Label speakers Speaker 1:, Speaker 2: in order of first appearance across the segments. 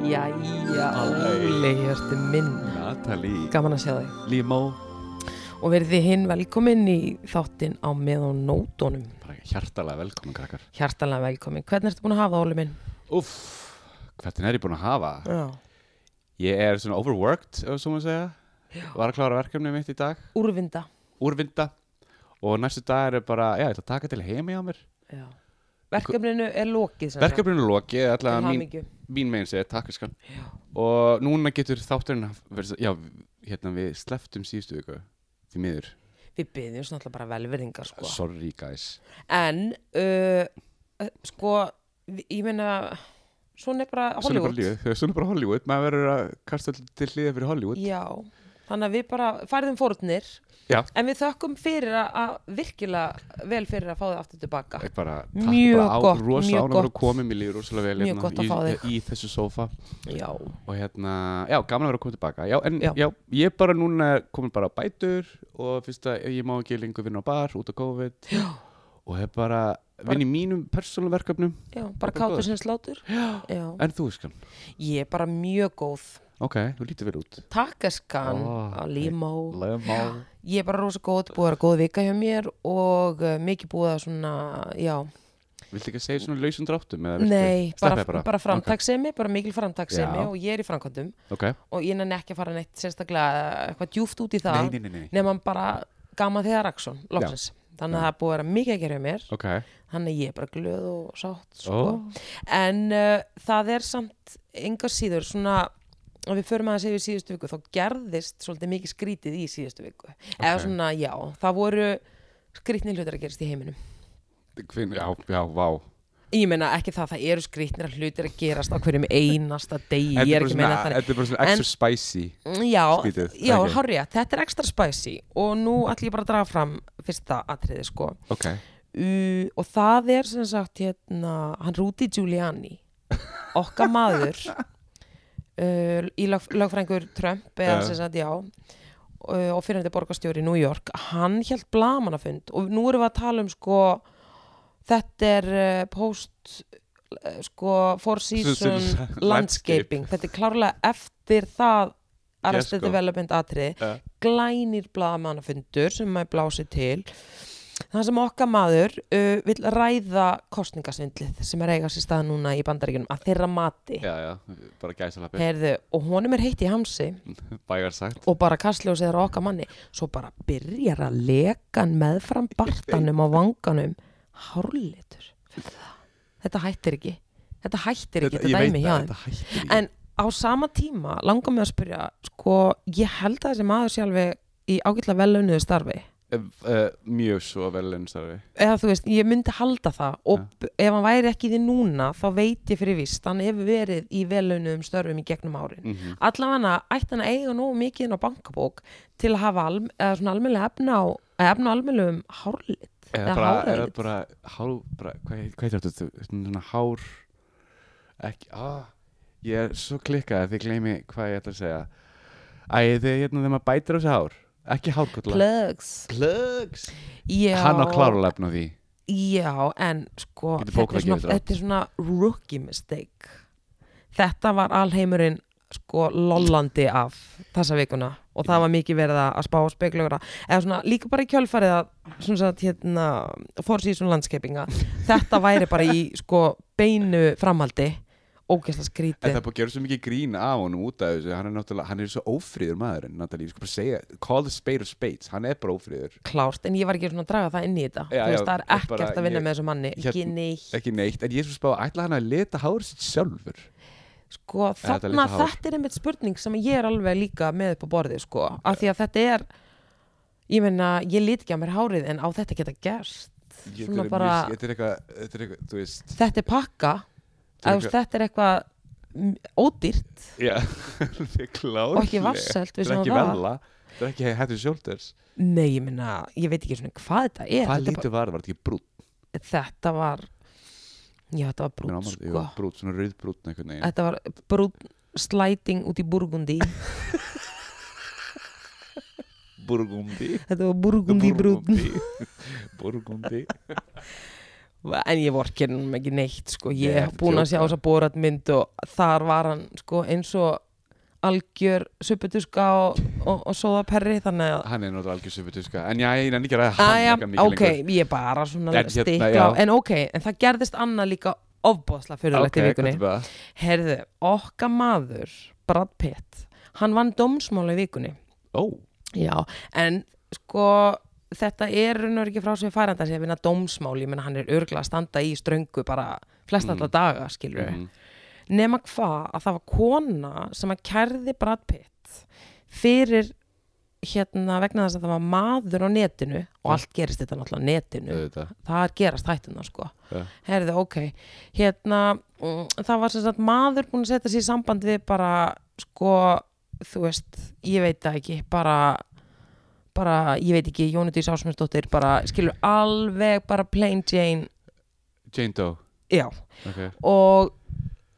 Speaker 1: Jæja,
Speaker 2: Óli.
Speaker 1: Óli, hérstu minn
Speaker 2: Natalie
Speaker 1: Gaman að sjá þig
Speaker 2: Limo
Speaker 1: Og verið þið hinn velkomin í þáttinn á með og nótunum
Speaker 2: Bara hjartalega velkomin krakkar
Speaker 1: Hjartalega velkomin, hvernig ertu búin að hafa það, Óli minn?
Speaker 2: Uff, hvernig er ég búin að hafa?
Speaker 1: Já.
Speaker 2: Ég er svona overworked, ef svo maður segja Var að klára verkefni mitt í dag
Speaker 1: Úrvinda
Speaker 2: Úrvinda Og næstu dag er bara, já, ég ætla að taka til heimi á mér
Speaker 1: Já. Verkefninu er lokið sem sagt.
Speaker 2: Verkefninu er lokið,
Speaker 1: Til
Speaker 2: allavega mín,
Speaker 1: hamingju.
Speaker 2: mín megin segja, takk skan
Speaker 1: Já.
Speaker 2: Og núna getur þátturinn haf- verið, Já, hérna við sleftum síðustu viku Því miður,
Speaker 1: Við byggjum svona alltaf bara velverðingar sko.
Speaker 2: sorry guys
Speaker 1: En uh, uh, Sko, vi- ég meina Svona er bara
Speaker 2: Svona er bara
Speaker 1: Hollywood
Speaker 2: lífið, svona er bara Hollywood Maður verður að kasta til hliðið fyrir Hollywood
Speaker 1: Já, þannig að við bara færðum fórnir
Speaker 2: Já.
Speaker 1: En við þökkum fyrir að- að virkilega vel fyrir að fá það aftur tilbaka
Speaker 2: Ég bara, takk
Speaker 1: Mjög
Speaker 2: bara á,
Speaker 1: gott, mjög
Speaker 2: rosa án að vera
Speaker 1: gott.
Speaker 2: komið mér líður rosalega vel
Speaker 1: Mjög
Speaker 2: hérna,
Speaker 1: gott að
Speaker 2: í,
Speaker 1: fá þig.
Speaker 2: í þessu sófa
Speaker 1: Já,
Speaker 2: og hérna, já, gaman að vera að koma tilbaka já, en já.
Speaker 1: Já.
Speaker 2: ég er bara núna komin bara á bætur og fyrst að ég má ekki lengur vinna á bar út á COVID já. og hef bara vinn í mínum persónum verkefnum,
Speaker 1: já, bara
Speaker 2: Bara
Speaker 1: kátur
Speaker 2: góður.
Speaker 1: sem slátur Já,
Speaker 2: en þú skan
Speaker 1: ég er bara mjög góð
Speaker 2: ok, þú lítið vel út
Speaker 1: Takk eskan,
Speaker 2: Ó,
Speaker 1: á límó
Speaker 2: Lemá.
Speaker 1: Ég er bara rosa góð, búið að vera góð vika hjá mér og uh, mikið búið að svona, já,
Speaker 2: viltu ekki að segja svona lausum dráttum? eða viltu-
Speaker 1: nei, bara,
Speaker 2: Sleppa þér
Speaker 1: bara. framtaksemi, bara mikil framtaksemi
Speaker 2: Já.
Speaker 1: og ég er í framkvæmdum
Speaker 2: ok, okay.
Speaker 1: og ég nenni ekki að fara neitt sérstaklega uh, eitthvað djúft út í það.
Speaker 2: Nei, nei, nei, nei.
Speaker 1: nema bara gaman þegar Raksson, loksins þannig að það er búið að vera mikið að gera hjá mér
Speaker 2: ok
Speaker 1: þannig að ég er bara glöð og sátt sko.
Speaker 2: Ó.
Speaker 1: en uh, það er samt enga síður svona og við förum aðeins yfir síðustu viku þá gerðist svolítið mikið skrítið í síðustu viku eða
Speaker 2: Ok.
Speaker 1: svona, já, það voru skrítni hlutir að gerast í heiminum
Speaker 2: Hvinn, já, já, vá
Speaker 1: ég meina ekki það, það eru skrítnir hlutir að gerast á hverjum einasta degi
Speaker 2: Þetta
Speaker 1: ég er
Speaker 2: er bara
Speaker 1: ekki að
Speaker 2: svona,
Speaker 1: meina þannig
Speaker 2: þetta er bara svona extra spicy
Speaker 1: Já,
Speaker 2: Skrítið,
Speaker 1: já,
Speaker 2: það ekki?
Speaker 1: hárja, þetta er ekstra spicy og nú ætlum ég bara að draga fram fyrsta atriði sko
Speaker 2: ok,
Speaker 1: uh, og það er sem sagt hérna, hann Rúti Giuliani okkar maður uh, í lög, lögfrængur Trump eða
Speaker 2: Já.
Speaker 1: sem sagt já uh, og fyrirandi borgarstjóri í New York hann hjælt blamanafund og nú erum við að tala um sko þetta er uh, post uh, sko four season
Speaker 2: Landscape.
Speaker 1: landscaping þetta er klárlega eftir það Arrested
Speaker 2: Fiasco.
Speaker 1: Development atriði
Speaker 2: Já.
Speaker 1: glænir blaðamannafundur sem maður blásið til þannig sem okkar maður uh, vil ræða kostningasvindlið sem er að eiga sér stað núna í bandaríkunum að þeirra mati
Speaker 2: já, já, bara gæsalappi
Speaker 1: Herðu, og honum er heitt í hamsi
Speaker 2: bægar sagt
Speaker 1: og bara kastljósið er á okkar manni svo bara byrjar að lekan meðfram bartanum á vanganum hárlitur þetta hættir ekki þetta hættir ekki, þetta,
Speaker 2: ég veit
Speaker 1: dæmi hjá
Speaker 2: það,
Speaker 1: þeim
Speaker 2: þetta hættir ekki.
Speaker 1: en á sama tíma langar mig að spyrja sko, ég held að þessi maður sé alveg í ágætla velunniðu starfi
Speaker 2: uh, mjög svo vel en starfi
Speaker 1: eða þú veist, ég myndi halda það og ef hann væri ekki í því núna þá veit ég fyrir vist, hann hefur verið í velunniðum störfum í gegnum árin
Speaker 2: mm
Speaker 1: allavega ætti hann að eiga nógu mikið inn á bankabók til að hafa alm, eða svona almennilega efna á eða efna á almennilegum hárlit
Speaker 2: eða
Speaker 1: Eða
Speaker 2: bara,
Speaker 1: hárið.
Speaker 2: eða bara, hár, bara hvað, hvað heitir þetta Þú- svona hár ekki, ah, ég er svo klikkað að þið gleymi hvað ég ætla að segja æ, þið hérna þegar maður bætir á þessi hár ekki hárkotla
Speaker 1: plugs
Speaker 2: plugs
Speaker 1: já,
Speaker 2: hann á klárlega efna því
Speaker 1: já, en sko
Speaker 2: Getur
Speaker 1: þetta er,
Speaker 2: bókað
Speaker 1: svona,
Speaker 2: gefið ráð.
Speaker 1: þetta er svona rookie mistake þetta var alheimurinn sko lollandi af þessa vikuna og það var mikið verið að að spá og spekulögra eða svona líka bara í kjölfarið að svona sagt hérna fórsýsum landskepinga þetta væri bara í sko beinu framhaldi ógæsla
Speaker 2: En
Speaker 1: skrítið
Speaker 2: það er búið að gera svo mikið grín af honum út af þessu, hann er náttúrulega, hann er svo ófríður maðurinn, Natalie, ég sko bara segja, call the spade a spade, hann er bara ófríður,
Speaker 1: klárt en ég var ekki svona að draga það inn í þetta
Speaker 2: Já,
Speaker 1: þú veist
Speaker 2: já,
Speaker 1: það er
Speaker 2: ég
Speaker 1: ekkert
Speaker 2: bara-
Speaker 1: að vinna
Speaker 2: ég- hérna-
Speaker 1: með þessum manni
Speaker 2: Hér-
Speaker 1: ekki neitt
Speaker 2: ekki neitt, en ég er svo spá, ætla hann að leta hár sitt sjálfur?
Speaker 1: sko
Speaker 2: þetta er
Speaker 1: þarna
Speaker 2: líka hár.
Speaker 1: þetta er einmitt spurning sem ég er alveg líka með upp á borðið sko af því að þetta er ég meina ég lít ekki á mér hárið en á þetta geta gerst
Speaker 2: Ég-
Speaker 1: Svona
Speaker 2: þetta er
Speaker 1: bara-
Speaker 2: mjög- þetta er eitthvað, þetta er eitthvað, þú veist
Speaker 1: þetta er pakka
Speaker 2: Þetta er
Speaker 1: eða þú veist, þetta er eitthvað mm, ódýrt
Speaker 2: já, þetta er klárlega
Speaker 1: og ekki vasselt við
Speaker 2: þetta er
Speaker 1: sjáum
Speaker 2: ekki
Speaker 1: það
Speaker 2: vella, þetta er ekki hættu shoulders
Speaker 1: nei ég meina ég veit ekki svona hvað þetta er
Speaker 2: hvað
Speaker 1: þetta, er
Speaker 2: lítur var, var þetta ekki brútt
Speaker 1: bara, þetta var já þetta var
Speaker 2: Mér á
Speaker 1: brútt
Speaker 2: maður-
Speaker 1: sko
Speaker 2: jú, brútt, svona rauð brútt einhvern veginn
Speaker 1: þetta var brútt slæting út í Burgundi
Speaker 2: Burgundi
Speaker 1: Þetta var burgundi brún
Speaker 2: Burgundi
Speaker 1: En ég vorkir hann ekki neitt sko. Ég
Speaker 2: Ég er
Speaker 1: hef búin að sjá
Speaker 2: djóka.
Speaker 1: þessa boratmynd og þar var hann sko, eins og algjör supputuska og, og, og sóðaperri þannig að
Speaker 2: Hann er náttúrulega algjör subutuska En já, ég nenni ekki að ræða hann
Speaker 1: Æja,
Speaker 2: eitthvað mikið
Speaker 1: Ah, ok,
Speaker 2: lengur.
Speaker 1: ég bara svona
Speaker 2: En hérna,
Speaker 1: stikla
Speaker 2: já.
Speaker 1: á, en ok, en það gerðist annað líka ofbóðsla fyrirlegt í
Speaker 2: Ok,
Speaker 1: vikunni
Speaker 2: hvað er það?
Speaker 1: Herðu, okka maður Brad Pitt, hann vann dómsmála í vikunni
Speaker 2: Ó,
Speaker 1: Já, en sko þetta er raun og veru ekki frá sér færanda að vinna dómsmál, ég menna hann er örgla að standa í ströngu bara flest
Speaker 2: Mm.
Speaker 1: alla daga skilur við,
Speaker 2: mm,
Speaker 1: nema hvað að það var kona sem að kærði Brad Pitt fyrir hérna vegna þess að það var maður á netinu og
Speaker 2: Mm.
Speaker 1: allt gerist þetta náttúrulega á netinu
Speaker 2: auðvitað
Speaker 1: það gerast hættuna sko
Speaker 2: Ja.
Speaker 1: herði ok, hérna mm, það var sem sagt maður búin að setja sér í samband við bara sko þú veist, ég veit það ekki bara, bara ég veit ekki Jónudís Ásmundsdóttir bara skilur alveg bara plain Jane
Speaker 2: Jane Doe,
Speaker 1: já,
Speaker 2: ok
Speaker 1: og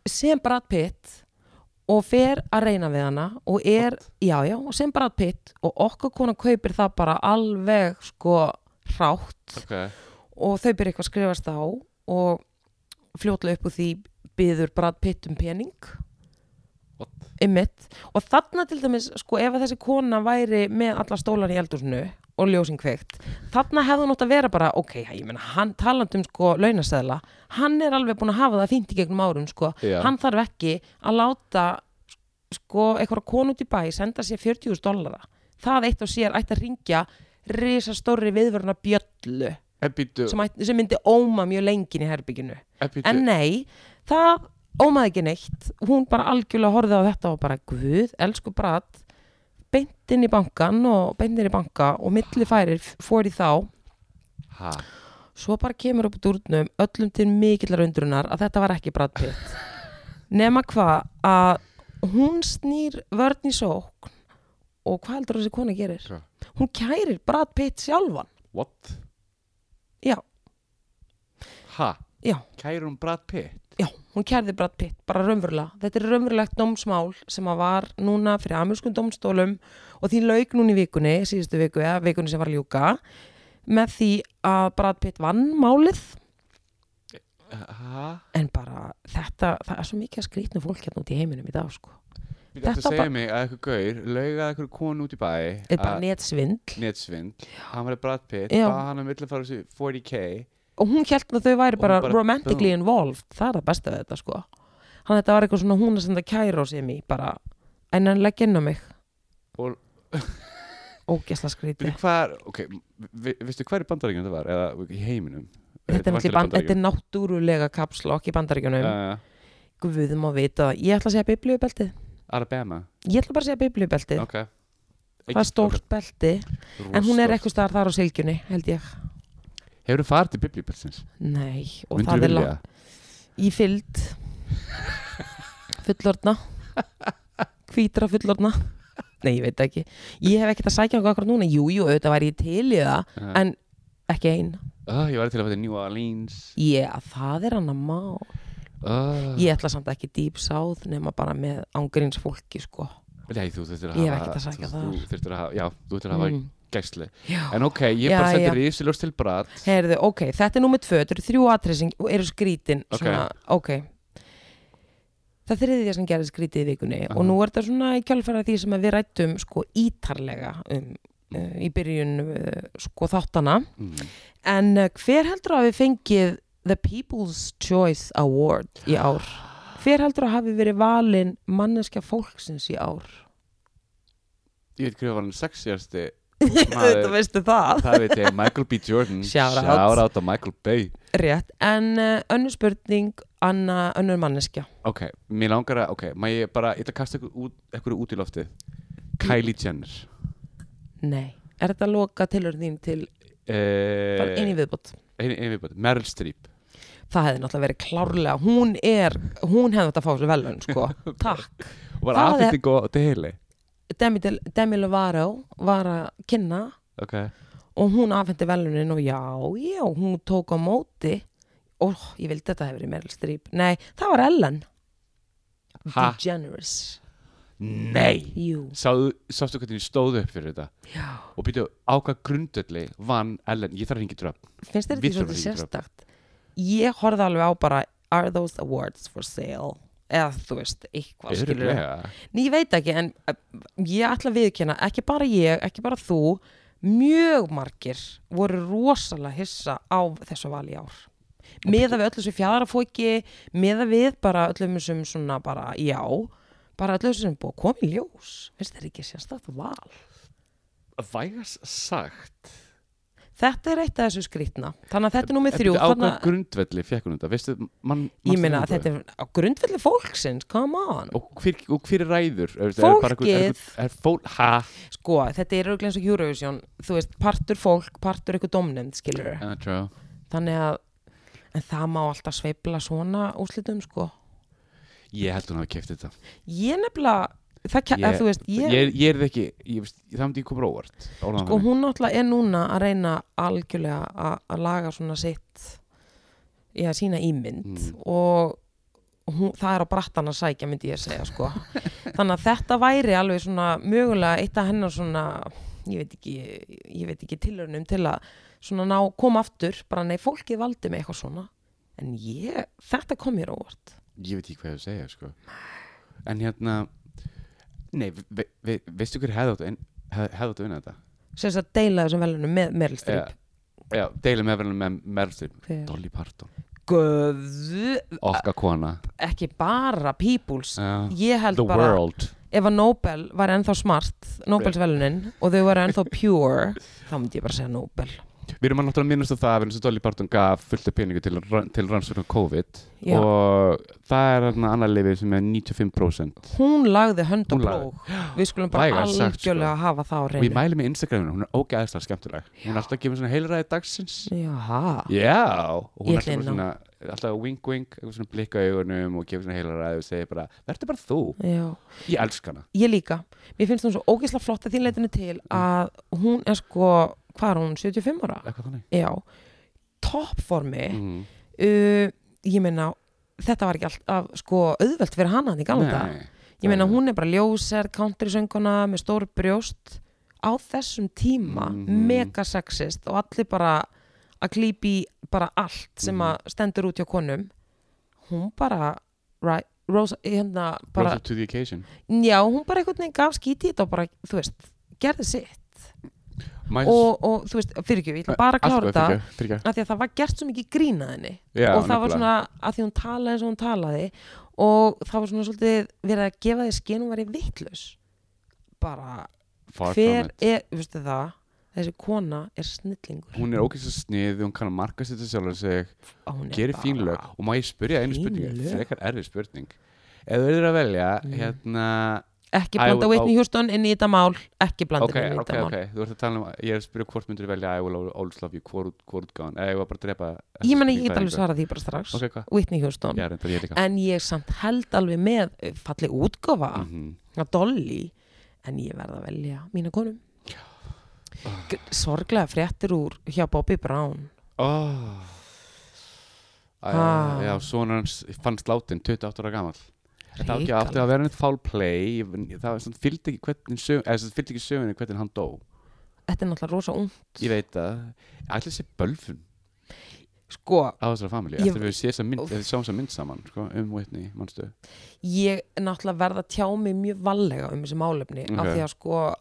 Speaker 1: sem Brad Pitt og fer að reyna við hana og er, já já, og sem Brad Pitt og okkur konar kaupir það bara alveg sko hrátt
Speaker 2: Ok,
Speaker 1: og þau byrja eitthvað að skrifast á og fljótlega upp úr því byður Brad Pitt um pening
Speaker 2: What?
Speaker 1: Einmitt. og þarna til dæmis sko ef að þessi kona væri með alla stólar í eldúsinu og ljósin kveikt þarna hefði hún átt að vera bara ok, ég meina, hann talandi um sko launaseðla hann er alveg búin að hafa það fínt í gegnum árum sko,
Speaker 2: Já.
Speaker 1: hann þarf ekki að láta sko eitthvað konu til bæ senda sér 40.000 dollara það eitt og sér ætti að ringja risastóri viðvörna bjöllu
Speaker 2: en býtu
Speaker 1: sem, ætti- sem myndi óma mjög lengin í herbygginu
Speaker 2: en býtu-
Speaker 1: en nei, það ómaði ekki neitt hún bara algjörlega horfði á þetta og bara guð, elsku brat beint inn í bankan og beint inn í banka og milli færir fór í þá
Speaker 2: Ha,
Speaker 1: svo bara kemur upp úr dúrnum öllum til mikillar undrunar að þetta var ekki Brad Pitt nema hvað að hún snýr vörn í sókn og hvað heldur þessi kona gerir?
Speaker 2: Hvað?
Speaker 1: Hún kærir Brad Pitt sjálfan
Speaker 2: what?
Speaker 1: Já.
Speaker 2: Ha,
Speaker 1: Já.
Speaker 2: kærum Brad Pitt
Speaker 1: Já, hún kærði Brad Pitt, bara raunverulega. Þetta er raunverulegt dómsmál sem að var núna fyrir amerískum dómstólum og því lauk núna í vikunni, síðustu viku eða vikunni sem var að ljúka með því að Brad Pitt vann málið
Speaker 2: Ha,
Speaker 1: en bara þetta, það er svo mikið að skrýtnu fólk hérna út í heiminum í dag sko.
Speaker 2: býtu
Speaker 1: Þetta
Speaker 2: eftir að
Speaker 1: bara-
Speaker 2: segja mig að eitthvað gaur laugaði eitthvað konu út í bæ
Speaker 1: Þetta er bara
Speaker 2: að-
Speaker 1: netsvindl
Speaker 2: netsvind, hann var í Brad Pitt
Speaker 1: Já.
Speaker 2: bað hann um illa fara þessu 40k
Speaker 1: og hún held að þau væri
Speaker 2: Og
Speaker 1: bara,
Speaker 2: hún bara-
Speaker 1: romantically involved, það er það besta við þetta sko. Hann þetta var eitthvað svona hún að senda kæra á sig mig, bara en hann legg inn á mig.
Speaker 2: Og-
Speaker 1: Ógesla skrýti.
Speaker 2: Býtu hvað, er- ok, vi- veistu hver í bandaríkjum þetta var, eða í heiminum
Speaker 1: þetta er, náttúrulega í ban- þetta
Speaker 2: væntanlega
Speaker 1: er náttúrulega kapslokk í bandaríkjunum uh.
Speaker 2: Bandaríkjunum. Uh,
Speaker 1: guðum að vita, það. ég ætla að segja biblíubeltið
Speaker 2: Alabama,
Speaker 1: ég ætla bara að segja biblíubeltið,
Speaker 2: ok
Speaker 1: það er stórt belti en hún er eitthvað staðar þar á sylgjunni held ég,
Speaker 2: Hefur þú farið til biblíupelsins?
Speaker 1: nei og það
Speaker 2: Myndur þú
Speaker 1: er
Speaker 2: vilja?
Speaker 1: langt í fylld fullorna hvítra fullorna nei, ég veit það ekki, ég hef ekkert að sækja okkur akkur núna, jújú, jú, auðvitað væri ég til í það
Speaker 2: Uh,
Speaker 1: en ekki ein,
Speaker 2: Ah, ég var til að fæta New Orleans
Speaker 1: ég, það er annar má
Speaker 2: uh,
Speaker 1: ég ætla samt ekki deep south nema bara með ángurins fólki sko
Speaker 2: Nei, þú þurftir að
Speaker 1: Ég hef
Speaker 2: hafa
Speaker 1: ekkert að sækja
Speaker 2: þú- Þú þurftir að hafa, já, þú þurftir að hafa
Speaker 1: Mm.
Speaker 2: gæsli
Speaker 1: Já.
Speaker 2: En ok, ég
Speaker 1: Já,
Speaker 2: bara
Speaker 1: já.
Speaker 2: sendir rísiljós til brat
Speaker 1: Heyrðu, ok, þetta er númið tvö, þetta eru þrjú atriðsing og eru skrítin
Speaker 2: Ok.
Speaker 1: svona, ok Það þriðið sem gerði skrítið í vikunni og
Speaker 2: Aha.
Speaker 1: nú er þetta svona í kjálfæra því sem að við rættum sko ítarlega um, uh, í byrjun uh, sko þáttana
Speaker 2: mm.
Speaker 1: en uh, hver heldur að hafi fengið The People's Choice Award í ár? Hver heldur að hafi verið valin manneskja fólksins í ár?
Speaker 2: Ég veit hverju var hann sexjasti
Speaker 1: Þetta
Speaker 2: maður
Speaker 1: veistu það
Speaker 2: Það veit ég, Michael B. Jordan
Speaker 1: Shout out.
Speaker 2: Shoutout á Michael Bay
Speaker 1: Rétt, en uh, önnur spurning anna, önnur manneskja
Speaker 2: Ok, mér langar að, ok, maður ég bara, ég ætla að kasta ykkur út, ykkur út í loftið
Speaker 1: Mm.
Speaker 2: Kylie Jenner
Speaker 1: Nei, er þetta loka tilur þín til bara einn í
Speaker 2: Einn
Speaker 1: viðbót?
Speaker 2: Eh, í viðbót, Meryl Streep
Speaker 1: Það hefði náttúrulega verið klárlega, hún er, hún hefði þetta að fá sér velun, sko. Takk.
Speaker 2: Og var
Speaker 1: Það er-
Speaker 2: aðfitting og deli
Speaker 1: Demi, Del- Demi Lovato var að kynna
Speaker 2: Ok,
Speaker 1: og hún afhendi velunin og já, já, hún tók á móti. Ó, ég vildi þetta hefur verið Meryl Streep. Nei, það var Ellen.
Speaker 2: Ha?
Speaker 1: DeGeneres.
Speaker 2: Nei
Speaker 1: Jú,
Speaker 2: Sáðu, Sástu hvernig ég stóð upp fyrir þetta
Speaker 1: já
Speaker 2: Og byrju á hvað grundölli vann Ellen Ég þarf að ringi dröfn
Speaker 1: Finnst þér
Speaker 2: Við
Speaker 1: þetta ekki
Speaker 2: þurfum
Speaker 1: svolítið
Speaker 2: að hringja í
Speaker 1: sérstakt? Ég horfði alveg á bara Are those awards for sale? Eða þú veist, eitthvað skilurðu.
Speaker 2: Öruglega
Speaker 1: Ný, ég veit ekki, en uh, ég ætla að viðkynna, ekki bara ég, ekki bara þú, mjög margir voru rosalega hissa á þessu val í ár. Meða við öllu þessu fjadrafóki, meða við bara öllum þessum svona bara, já, bara öllu þessum búið að koma í ljós. Veist þetta ekki sérstakt val?
Speaker 2: Vægas sagt
Speaker 1: Þetta er eitt af þessu skrýtna. Þannig að þetta er númið
Speaker 2: En byrju,
Speaker 1: þrjú.
Speaker 2: Á
Speaker 1: Þannig
Speaker 2: hvað grundvelli fekk hún þetta Veistu man,
Speaker 1: að ég meina að þetta er á grundvelli fólksins, come on.
Speaker 2: Og hver, og hver ræður Er- er bara einhver- Er,
Speaker 1: Fólkið.
Speaker 2: er, er fól Ha
Speaker 1: Sko, þetta er auðvitað eins og Eurovision, þú veist, partur fólk, partur eitthvað domnefnd, skilur þau.
Speaker 2: Uh, true.
Speaker 1: þannig að en það má alltaf sveifla svona úslitum sko
Speaker 2: Ég held hún hafi keft þetta
Speaker 1: ég nefnilega það, ég,
Speaker 2: Ég-
Speaker 1: þú veist,
Speaker 2: Ég,
Speaker 1: ég,
Speaker 2: ég, er það ekki ég, veist, Það myndi ég koma óvart orðan
Speaker 1: sko
Speaker 2: þannig.
Speaker 1: hún náttúrulega er núna að reyna algjörlega a- að laga svona sitt já, sína ímynd
Speaker 2: Mm.
Speaker 1: og hún, það er á brattan að sækja myndi ég segja sko þannig að þetta væri alveg svona mögulega eitt af hennar svona ég veit ekki, ég veit ekki tilraunum til að svona ná, koma aftur bara nei, fólkið valdi mig eitthvað svona en ég, þetta kom mér á óvart
Speaker 2: Ég veit ekki hvað ég á að segja sko. En hérna Nei, ve, ve, veistu hver hefði átt að vin- hef- hefði átt að vinna þetta?
Speaker 1: sem þess að deila þessum velunum með Meryl Streep
Speaker 2: Já, deilum meðverðan með Meryl Streep
Speaker 1: yeah.
Speaker 2: Dolly Parton,
Speaker 1: Guðu,
Speaker 2: okkar kona
Speaker 1: ekki bara Peoples
Speaker 2: Já.
Speaker 1: ég held
Speaker 2: The
Speaker 1: bara,
Speaker 2: World
Speaker 1: ef að Nobel var ennþá smart, Nobelsvelunin og þau var ennþá pure þá myndi ég bara segja Nobel
Speaker 2: Við erum að náttúrulega minnast á það vegna þess að Dolly Parton gaf fullt af peningu til, rann- til rannsóknar COVID
Speaker 1: Já.
Speaker 2: og það er þarna annað lifið sem er 95%
Speaker 1: hún lagði hönd og
Speaker 2: Hún lagði.
Speaker 1: blók við skulum bara
Speaker 2: Vægast sagt, sko.
Speaker 1: algjörlega hafa það á
Speaker 2: og ég
Speaker 1: reynu
Speaker 2: mæli með Instagraminu, hún er ógeðslega skemmtileg hún er alltaf að gefa svona heilræði dagsins
Speaker 1: Jaha,
Speaker 2: Já, og hún
Speaker 1: Ég
Speaker 2: er alltaf
Speaker 1: ætla
Speaker 2: bara
Speaker 1: inn á.
Speaker 2: svona alltaf wink wink, eitthvað svona blikka í augunum og gefur svona heilaræði og segir bara verður bara þú,
Speaker 1: já
Speaker 2: ég elska hana
Speaker 1: ég líka, mér finnst hún svo ógeðslega flott að þín leitinu til
Speaker 2: Mm.
Speaker 1: að hún er sko hvað er hún, 75 ára?
Speaker 2: eitthvað þannig
Speaker 1: Já, toppformi
Speaker 2: mm.
Speaker 1: uh, ég meina þetta var ekki alltaf sko auðvelt fyrir hana í gamla dag.
Speaker 2: Nei.
Speaker 1: Ég meina
Speaker 2: nei.
Speaker 1: hún er bara ljóser, countrysönguna með stór brjóst á þessum tíma
Speaker 2: Mhm.
Speaker 1: mega sexist og allir bara að klípi bara allt sem
Speaker 2: Mhm.
Speaker 1: að stendur út hjá konum hún bara right, Rosa, hérna bara,
Speaker 2: Rose up to the occasion
Speaker 1: já hún bara einhvern veginn gaf skíti í þetta og bara, þú veist, gerði sitt
Speaker 2: Mæs,
Speaker 1: og, og þú veist, fyrir ekki, ég ætla bara að klára þetta
Speaker 2: fyrir ekki,
Speaker 1: af því að það var gert svo mikið grínað henni
Speaker 2: Já,
Speaker 1: og það var
Speaker 2: nefnilega.
Speaker 1: svona að því hún talaði eins og hún talaði og það var svona svolítið verið að gefa því skinn hún væri vittlaus bara
Speaker 2: Far
Speaker 1: hver
Speaker 2: from it.
Speaker 1: er, veistu það þessi kona er snillingur
Speaker 2: hún er ógeðslega snið hún kann að marka sér til sjálf og segja
Speaker 1: hún er
Speaker 2: gerir
Speaker 1: bara-
Speaker 2: fín lög og má ég spyrja einu
Speaker 1: Fín
Speaker 2: spurningu,
Speaker 1: lög.
Speaker 2: frekar erfið spurning ef þú verður að velja
Speaker 1: Mm.
Speaker 2: hérna,
Speaker 1: ekki
Speaker 2: I
Speaker 1: blanda
Speaker 2: will-
Speaker 1: Whitney Houston inn í þetta mál ekki blanda
Speaker 2: ok,
Speaker 1: okay, inn í
Speaker 2: ok,
Speaker 1: þetta
Speaker 2: ok
Speaker 1: mál
Speaker 2: þú ert að tala um, ég er að spyrja hvort myndur velja I will always love you, hvort, hvort gáðan eða ég var bara að drepa þessa
Speaker 1: ég menna
Speaker 2: spurningu,
Speaker 1: ég get
Speaker 2: það er
Speaker 1: alveg
Speaker 2: eitthvað.
Speaker 1: svarað því bara strax
Speaker 2: ok, hvað?
Speaker 1: Whitney Houston
Speaker 2: Já, reyndar ég líka
Speaker 1: en ég samt held alveg með eh, falleg útgófa
Speaker 2: Mhm.
Speaker 1: að Dolly en ég verð að velja mína konum G- sorglega fréttir úr hjá Bobby Brown
Speaker 2: oh. Æ,
Speaker 1: Ah.
Speaker 2: Já, sonur hans fannst látin 28 ára gamall Þetta átti
Speaker 1: Hrikalegt.
Speaker 2: átti að vera neitt foul play ég- það var svona- fylgdi ekki hvernig sög, eða, svona, fylgdi ekki sögunni hvernig hann dó
Speaker 1: þetta er náttúrulega rosa ung
Speaker 2: Ég veit það, ætla sé bölfun
Speaker 1: sko,
Speaker 2: á þessari familju
Speaker 1: Ég-
Speaker 2: eftir að við séum þessa mynd,
Speaker 1: Úff.
Speaker 2: eftir sjáum þessa mynd saman sko, um Whitney, manstu
Speaker 1: ég náttúrulega verð að tjá mig mjög vallega um þessi málefni af
Speaker 2: Ok.
Speaker 1: því að sko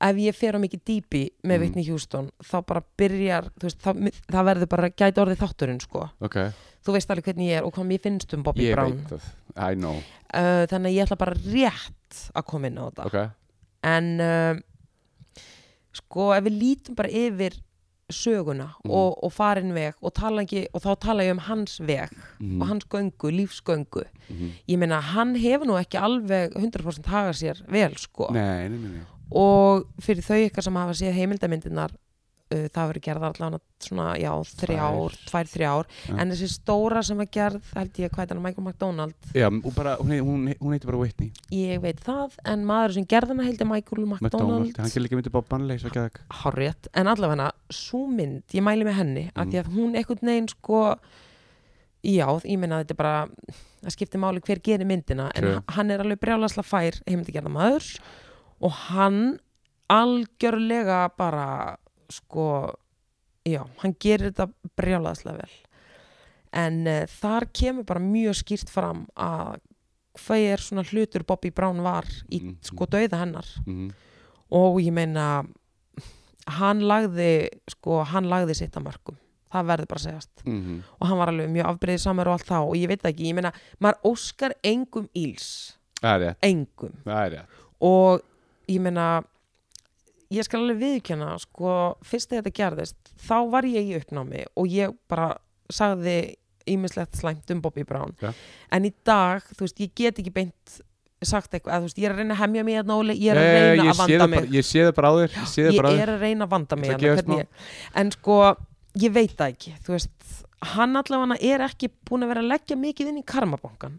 Speaker 1: ef ég fer á mikið dýpi með
Speaker 2: Mm.
Speaker 1: Whitney Houston þá bara byrjar, þú veist, það, það verður bara gæti orðið þátturinn sko
Speaker 2: okay.
Speaker 1: þú veist alveg hvernig ég er og hvað mér finnst um Bobby
Speaker 2: Ég
Speaker 1: Brown
Speaker 2: veit það, I know
Speaker 1: uh, þannig að ég ætla bara rétt að koma inn á þetta
Speaker 2: okay.
Speaker 1: en um, sko ef við lítum bara yfir söguna
Speaker 2: Mhm.
Speaker 1: og, og farin veg og, tala ekki, og þá tala ég um hans veg
Speaker 2: mm
Speaker 1: og hans göngu, lífsgöngu
Speaker 2: mm.
Speaker 1: ég meina hann hefur nú ekki alveg 100% haga sér vel sko
Speaker 2: Nei, nei, nei, nei.
Speaker 1: og fyrir þau ykkar sem hafa séð heimildamyndirnar uh, það verið gerðar allan svona, já, þrjár, tvær, þrjár
Speaker 2: Já.
Speaker 1: en þessi stóra sem var gerð, held ég hvað er hann, Michael McDonald,
Speaker 2: Já, hún, bara, hún, heit- hún, hún heitir bara Whitney
Speaker 1: ég veit það en maður sem gerðana heildi Michael
Speaker 2: McDonald,
Speaker 1: McDonald
Speaker 2: hann gerir líka myndið bara bannleis og gæðak
Speaker 1: Hárétt, en allavega svo mynd, ég mæli með henni mm.
Speaker 2: Mhm.
Speaker 1: að því að hún einhvern veginn sko já, ég meina að þetta er bara það skiptir máli hver gerir myndina en
Speaker 2: True.
Speaker 1: h- hann er alveg brjálasla fær heimildagerða maður og hann algjörlega bara sko já, hann gerir þetta brjálasla vel en uh, þar kemur bara mjög skýrt fram að hvað er svona hlutur Bobby Brown var í
Speaker 2: Mhm.
Speaker 1: sko dauða hennar
Speaker 2: Mhm.
Speaker 1: og ég meina hann lagði sko, hann lagði sitt að mörgum það verður bara að segjast
Speaker 2: Mhm.
Speaker 1: og hann var alveg mjög afbreyðið samar og allt það og ég veit það ekki, ég meina, maður óskar engum íls,
Speaker 2: Það er rétt,
Speaker 1: engum
Speaker 2: það er rétt
Speaker 1: og ég meina ég skal alveg viðkjanna sko, fyrst þegar þetta gerðist þá var ég í uppnámi og ég bara sagði ímislegt slæmt um Bobby Brown
Speaker 2: Ja.
Speaker 1: en í dag, þú veist, ég get ekki beint sagt eitthvað, eða þú veist, ég er að reyna að hemja mig hérna, Óli, ég er að
Speaker 2: Já, já, já,
Speaker 1: reyna
Speaker 2: ég
Speaker 1: að
Speaker 2: sé
Speaker 1: vanda
Speaker 2: það
Speaker 1: mig
Speaker 2: bara- Ég sé það bara á þér Ég sé það
Speaker 1: ég
Speaker 2: bara á þér
Speaker 1: er að reyna að vanda mig
Speaker 2: Ætla að
Speaker 1: hérna,
Speaker 2: gefast
Speaker 1: hvernig ég, en sko, ég veit það ekki þú veist, hann allavega er ekki búin að vera að leggja mikið inn í karmabankan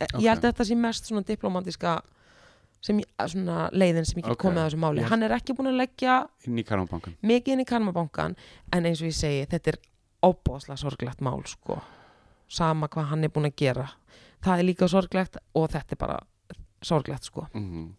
Speaker 2: Ok.
Speaker 1: ég held að þetta sé mest svona diplomatíska sem, ég- svona leiðin sem ég get
Speaker 2: Ok.
Speaker 1: komið að þessu máli
Speaker 2: Ég-
Speaker 1: hann er ekki búin að leggja
Speaker 2: Inn í Karmabankan
Speaker 1: mikið inn í karmabankan en eins og ég segi, þetta er óbóðslega sorglegt mál sko sama hvað hann er búin að gera það er líka sorglegt og þetta er bara sorglegt sko,
Speaker 2: Mhm.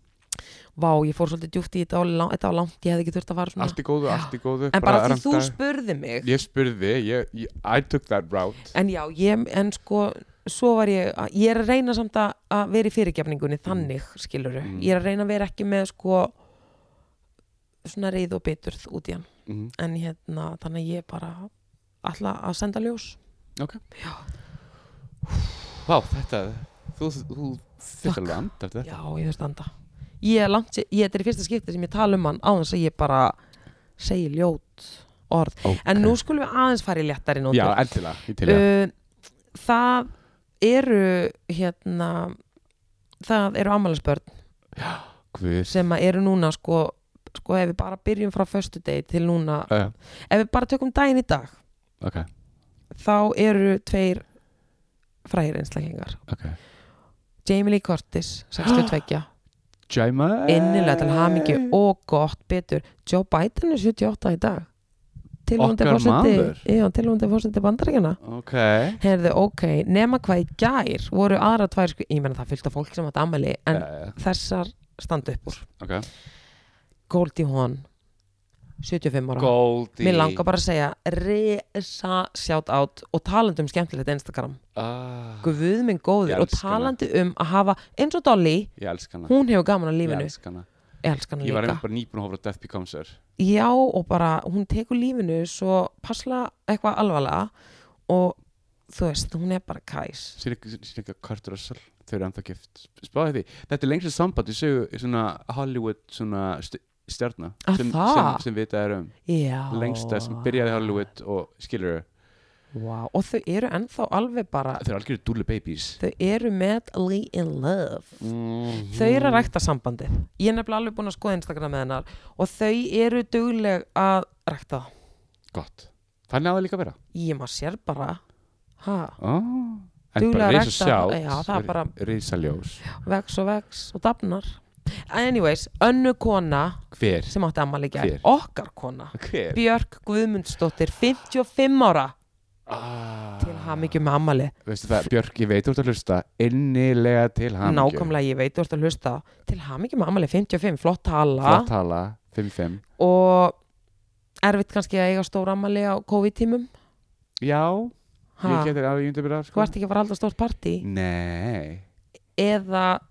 Speaker 1: vá, ég fór svolítið djúpt í þetta og lá- þetta var langt, ég hefði ekki þurft að fara svona
Speaker 2: Allt í góðu, allt í góðu
Speaker 1: en bara því þú
Speaker 2: ranta-
Speaker 1: spurði mig
Speaker 2: Ég spurði, ég, ég, I took that route
Speaker 1: en já, ég, en sko svo var ég, að- ég er að reyna samt að, að vera í fyrirgefningunni þannig skiluru
Speaker 2: Mm.
Speaker 1: ég er að reyna að vera ekki með sko svona reyð og biturð út í hann
Speaker 2: Mhm.
Speaker 1: en hérna, þannig að ég bara ætla að senda ljós
Speaker 2: Vá, þetta, þú, þú þurft alveg að anda eftir þetta.
Speaker 1: já, ég þurfti að anda ég er langt, sé- ég þetta er í fyrsta skipti sem ég tala um hann á þess að ég bara segi ljót orð
Speaker 2: Okay.
Speaker 1: en nú skulum við aðeins fara í léttari nótur
Speaker 2: Já, endilega, ég til ég.
Speaker 1: uh, það eru hérna það eru ámælisbörn
Speaker 2: Guð.
Speaker 1: Uh, sem að eru núna sko, sko ef við bara byrjum frá föstu degi til núna
Speaker 2: Uh,
Speaker 1: ef við bara tökum daginn í dag
Speaker 2: ok,
Speaker 1: þá eru tveir frægir einslækingar
Speaker 2: ok.
Speaker 1: Jamie Lee Curtis, 62
Speaker 2: Jaima.
Speaker 1: innilega til hamingju og gott betur Joe Biden er 78 í dag tilhúndi
Speaker 2: Okkar maður.
Speaker 1: fórseti bandaríkjana
Speaker 2: Ok.
Speaker 1: Herðu, ok, nema hvað í gær voru aðra tvær, sko, ég menna það fylgta fólk sem þetta ammæli, en
Speaker 2: Uh,
Speaker 1: þessar standa upp úr.
Speaker 2: ok.
Speaker 1: Goldie Hawn, 75 ára.
Speaker 2: Goldie.
Speaker 1: Mér langar bara að segja, resa shout out og talandi um skemmtilegt Instagram.
Speaker 2: Ah,
Speaker 1: Guð minn góður
Speaker 2: Ég
Speaker 1: og
Speaker 2: elska hana.
Speaker 1: talandi um að hafa, eins og Dolly,
Speaker 2: ég elsk hana.
Speaker 1: hún hefur gaman á
Speaker 2: Ég
Speaker 1: lífinu.
Speaker 2: elsk hana.
Speaker 1: Ég elska hana
Speaker 2: Ég var
Speaker 1: líka.
Speaker 2: einmitt bara nýbúin að hófra Death Becomes Her.
Speaker 1: Já, og bara, hún tekur lífinu svo passla eitthvað alvarlega og þú veist, hún er bara kæs.
Speaker 2: Sér ekki Kurt Russell. Þau eru ennþá gift. Spáði því. Þetta er lengst samband. Ég segi svona Hollywood svona st stjarnar.
Speaker 1: Ah,
Speaker 2: sem,
Speaker 1: það?
Speaker 2: sem, sem vitað er um.
Speaker 1: Já.
Speaker 2: Lengsta sem byrjaði í Hollywood og skilur þau.
Speaker 1: Vá, og þau eru ennþá alveg bara
Speaker 2: Þau eru algjörðu dúlu babies.
Speaker 1: þau eru madly in love
Speaker 2: -hmm.
Speaker 1: þau eru að rækta sambandið ég er nefnilega alveg búin að skoða Instagram með hennar og þau eru dugleg að rækta það
Speaker 2: Gott. Þannig á það líka að vera.
Speaker 1: ég maður sér bara ha,
Speaker 2: Oh. En
Speaker 1: Duglega
Speaker 2: bara
Speaker 1: að
Speaker 2: reysa
Speaker 1: rækta-
Speaker 2: sjátt.
Speaker 1: já, það er bara-
Speaker 2: Reysa ljós.
Speaker 1: vex og vex og dafnar anyways, önnu kona
Speaker 2: Hver?
Speaker 1: sem átti ammali gær,
Speaker 2: Hver?
Speaker 1: okkar kona
Speaker 2: Hver?
Speaker 1: Björk Guðmundsdóttir, 55 ára
Speaker 2: Ah.
Speaker 1: til hamingju með ammali
Speaker 2: Veistu það, Björk, ég veit þú ert að hlusta innilega til hamingju.
Speaker 1: nákvæmlega ég veit, þú ert að hlusta til hamingju með ammali 55, flott tala
Speaker 2: Flott tala, 5-5.
Speaker 1: og erfitt kannski að eiga stór ammali á COVID-tímum
Speaker 2: Já,
Speaker 1: Ha,
Speaker 2: ég getur að ég undir byrja,
Speaker 1: þú
Speaker 2: sko.
Speaker 1: ert ekki að fara að halda stórt partí
Speaker 2: Nei.
Speaker 1: eða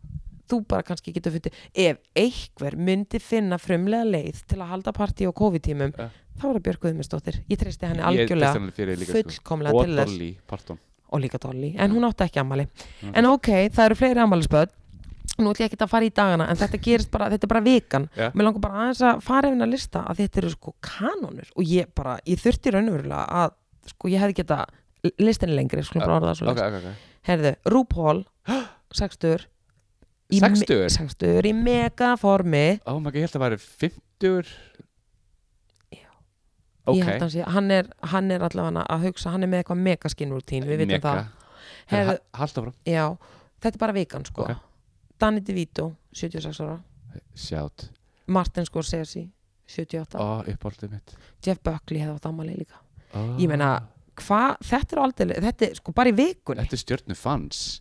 Speaker 1: þú bara kannski getur fundið ef einhver myndi finna frumlega leið til að halda partí á COVID-tímum
Speaker 2: Ja.
Speaker 1: þá er það Björg Guðmundsdóttir ég treysti henni
Speaker 2: Ég er
Speaker 1: algjörlega
Speaker 2: bestanilega fyrir þig líka, sko.
Speaker 1: fullkomlega
Speaker 2: Og
Speaker 1: til þess
Speaker 2: Dolly Parton.
Speaker 1: og líka Dolly, en hún átti ekki ammali
Speaker 2: Já.
Speaker 1: en ok, það eru fleiri ammalispöð nú ætlum ég ekki að fara í dagana en þetta gerist bara, þetta er bara vikan
Speaker 2: Já.
Speaker 1: mér langar bara aðeins að fara yfir að lista að þetta eru sko kanónur og ég bara, ég þurfti raunverulega að sko ég hefði geta listinni lengri, skulum bara orða það svo
Speaker 2: Ok, ok, ok.
Speaker 1: herðu, RuPaul, sextur í me-
Speaker 2: Sextugur?
Speaker 1: sextugur, í mega formi
Speaker 2: Ó, maður, ég held að það væri 50.
Speaker 1: Já.
Speaker 2: Ok.
Speaker 1: ég held að hann sé, hann er, hann er allavega að hugsa, hann er með eitthvað mega skinrútín við vitum
Speaker 2: Mega.
Speaker 1: það,
Speaker 2: Herðu,
Speaker 1: Herðu-
Speaker 2: ha- haltu áfram.
Speaker 1: já þetta er bara vikan sko
Speaker 2: Ok.
Speaker 1: Danny DeVito, 76 ára
Speaker 2: Sjátt.
Speaker 1: Martin Scorsese, 78
Speaker 2: Ó, uppáldið mitt.
Speaker 1: Jeff Buckley hefði átt ammali líka
Speaker 2: Ó.
Speaker 1: Ég meina, hvað, þetta er aldrei, þetta er sko bara í vikunni
Speaker 2: Þetta er stjörnu fans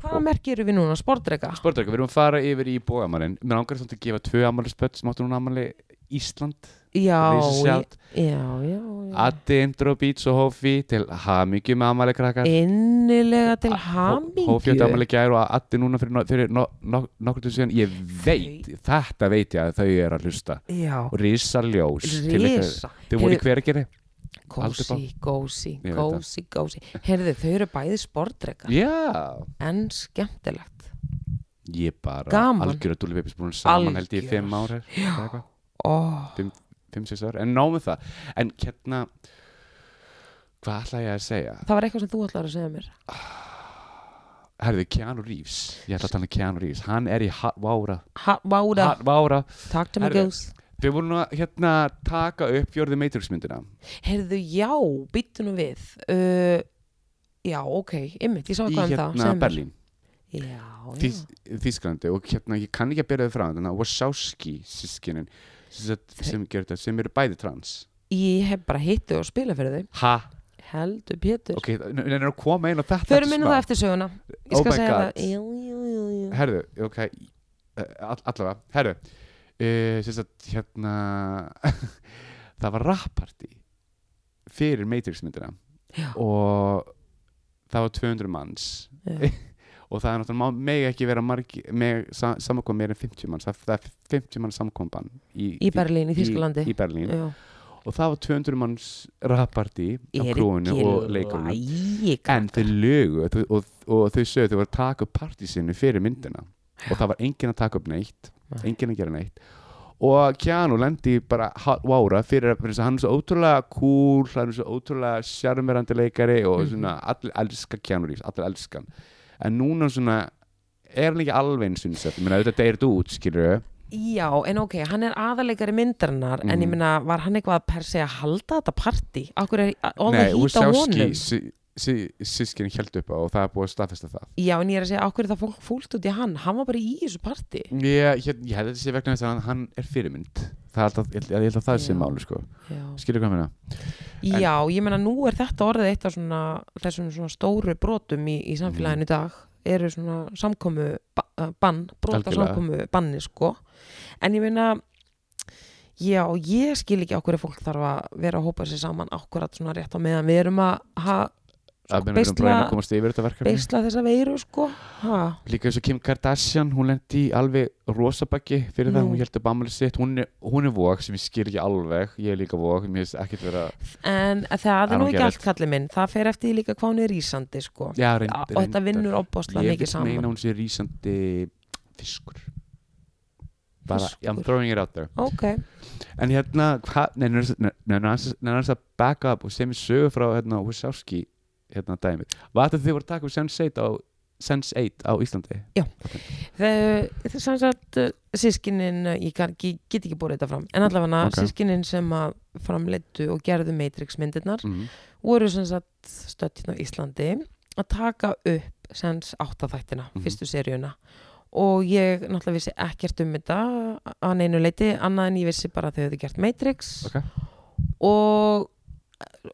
Speaker 1: hvaða merki eru við núna, sportreika
Speaker 2: Sportreika, við erum að fara yfir í bóamalinn Mér ángar svolítið að gefa tvö amalispött sem áttu núna amali Ísland
Speaker 1: já, Mm. já,
Speaker 2: Rísisjátt,
Speaker 1: já, já.
Speaker 2: Addi, Indro, Beats og Hófi til hamingju með amali krakkar
Speaker 1: innilega til
Speaker 2: Hófi átti
Speaker 1: hamingju
Speaker 2: amali gær og Addi núna fyrir, no, fyrir no, no, nokkur til síðan Ég veit, þetta veit ég að þau eru að hlusta
Speaker 1: já,
Speaker 2: Og Rísa ljós til ykkar.
Speaker 1: risa
Speaker 2: Þau voru í
Speaker 1: Heyrðu-
Speaker 2: hvergeri Haldið bara.
Speaker 1: Gósi, gósi,
Speaker 2: Ég veit
Speaker 1: gósi, gósi Herðu, þau eru bæði sportreika
Speaker 2: Já,
Speaker 1: En skemmtilegt
Speaker 2: ég bara
Speaker 1: Gaman.
Speaker 2: Algjör að Dúli Pepis búin saman held ég í fimm ár er, eða eitthvað.
Speaker 1: Ó,
Speaker 2: fimm, sex ár, en námið það en hérna hvað ætla ég að segja?
Speaker 1: Það var eitthvað sem þú ætlar að segja mér
Speaker 2: Herðu, Keanu Reeves, ég ætla að tala um Keanu Reeves hann er í ha- Vára
Speaker 1: Ha, Váda,
Speaker 2: ha- Vára,
Speaker 1: takk til mig
Speaker 2: Herðu.
Speaker 1: góðs
Speaker 2: við vorum nú að hérna taka upp fjörðu Matrix myndina
Speaker 1: Herðu, já, býttu nú við uh, Já, ok, ymmit, ég sá
Speaker 2: í
Speaker 1: eitthvað um
Speaker 2: hérna
Speaker 1: það segðu mér.
Speaker 2: Berlín,
Speaker 1: Já, já
Speaker 2: Þís, Þísklandi og hérna, ég kann ekki að bera þau frá þannig að Wachowski sískinin sem, sagt- sem, gerðu þetta, sem eru bæði trans
Speaker 1: Ég hef bara hittu og spila fyrir þau
Speaker 2: ha,
Speaker 1: Heldur Pétur
Speaker 2: ok, en er að koma einn og þetta
Speaker 1: Þau eru minna
Speaker 2: smá.
Speaker 1: það eftir söguna Ég
Speaker 2: Oh
Speaker 1: skal
Speaker 2: my
Speaker 1: segja
Speaker 2: God.
Speaker 1: það Jú, jú, jú, jú
Speaker 2: Herðu, ok uh, all, Allavega, herðu uh, Sérst að hérna Það var rappartí Fyrir Matrix myndina
Speaker 1: Já.
Speaker 2: Og það var 200 manns
Speaker 1: Já.
Speaker 2: Og það er náttúrulega má- Mega ekki vera margi meg, sa, Samkom meir en 50 manns Það, það er 50 manns samkomban Í,
Speaker 1: Í Berlín, í Þískalandi
Speaker 2: í, í Berlín
Speaker 1: Já.
Speaker 2: Og það var 200 manns rappartí Á
Speaker 1: Er
Speaker 2: krúinu
Speaker 1: ekki
Speaker 2: og leikurinu
Speaker 1: lagi,
Speaker 2: En þau lögu og, og, og þau sögðu þau voru að taka upp partysinu fyrir myndina og það var enginn að taka upp neitt
Speaker 1: Nei.
Speaker 2: enginn að gera neitt og Keanu lendi í bara ha- vára fyrir að fyrir þess að hann er svo ótrúlega cool hann er svo ótrúlega sjarmerandi leikari og
Speaker 1: Mhm.
Speaker 2: svona allir elska Keanu Reeves allir elska hann en núna svona er hann ekki alveg eins og ég meina auðvitað deyrir þú út skilur
Speaker 1: Já, en ok, hann er aðalegari myndarinnar en ég
Speaker 2: Mhm.
Speaker 1: meina, var hann eitthvað per se að halda þetta partí? Akkur er all
Speaker 2: nei,
Speaker 1: the heat á honum?
Speaker 2: sí, sí, sískinn held upp á og það er búið að staðfesta það
Speaker 1: Já, en ég er að segja, akkur er það fólk fúlt út í hann? Hann var bara í þessu partí
Speaker 2: ég, ég, ég held að þetta sé vegna þess að hann, hann er fyrirmynd það, er alltaf- ég, held- ég held að það sé
Speaker 1: Já.
Speaker 2: máli sko.
Speaker 1: Já,
Speaker 2: skilur hvað ég meina
Speaker 1: Já ég meina, nú er þetta orðið eitt af svona, þessum svona stóru brotum í, í
Speaker 2: Mm.
Speaker 1: samfélaginu í dag eru svona samkomu ba eh, bann, brota
Speaker 2: Algjörlega.
Speaker 1: samkomu banni, sko en ég meina Já, ég skil ekki okkur að fólk þarf að vera að hópa sér saman okkur að svona rétt á meðan við erum að ha-
Speaker 2: að meina við erum
Speaker 1: Sko, beisla-
Speaker 2: bara að reyna að komast yfir þetta verkefni
Speaker 1: beisla þessa veiru sko ha.
Speaker 2: líka eins og Kim Kardashian, hún lendi í alveg rosabakki fyrir það,
Speaker 1: Nú.
Speaker 2: hún held upp ammali sitt hún er, hún er vok sem ég skil ekki alveg ég er líka vok, mér finnst ekkert vera
Speaker 1: en það
Speaker 2: Það er
Speaker 1: er nú
Speaker 2: nú
Speaker 1: ekki
Speaker 2: gerlegt.
Speaker 1: allt kallið minn það fer eftir því líka hvað hún er rísandi sko
Speaker 2: já, reynd,
Speaker 1: og þetta vinnur opbóstlega
Speaker 2: ég
Speaker 1: mikið
Speaker 2: vil meina
Speaker 1: saman
Speaker 2: hún sé rísandi fiskur bara,
Speaker 1: Fiskur.
Speaker 2: I'm throwing it out there
Speaker 1: ok,
Speaker 2: En hérna, hvað, neina hans að backa up og sem ég sögur frá hérna Wachowski hérna dæmi Var þetta þið voru að taka upp Sense8 á, Sense8 á Íslandi?
Speaker 1: það er sannsagt sískinin, eh, ég kann- ég get ekki búið þetta fram en allavega
Speaker 2: Ok.
Speaker 1: okay. sískinin sem að framleittu og gerðu Matrix myndirnar
Speaker 2: Mm.
Speaker 1: voru sannsagt stöttin hérna á Íslandi að taka upp sanns áttaþættina,
Speaker 2: Mhm.
Speaker 1: fyrstu seríuna og ég náttúrulega vissi ekkert um þetta að neinu leiti, annað en ég vissi bara að þau hefðu gert Matrix
Speaker 2: Ok.
Speaker 1: og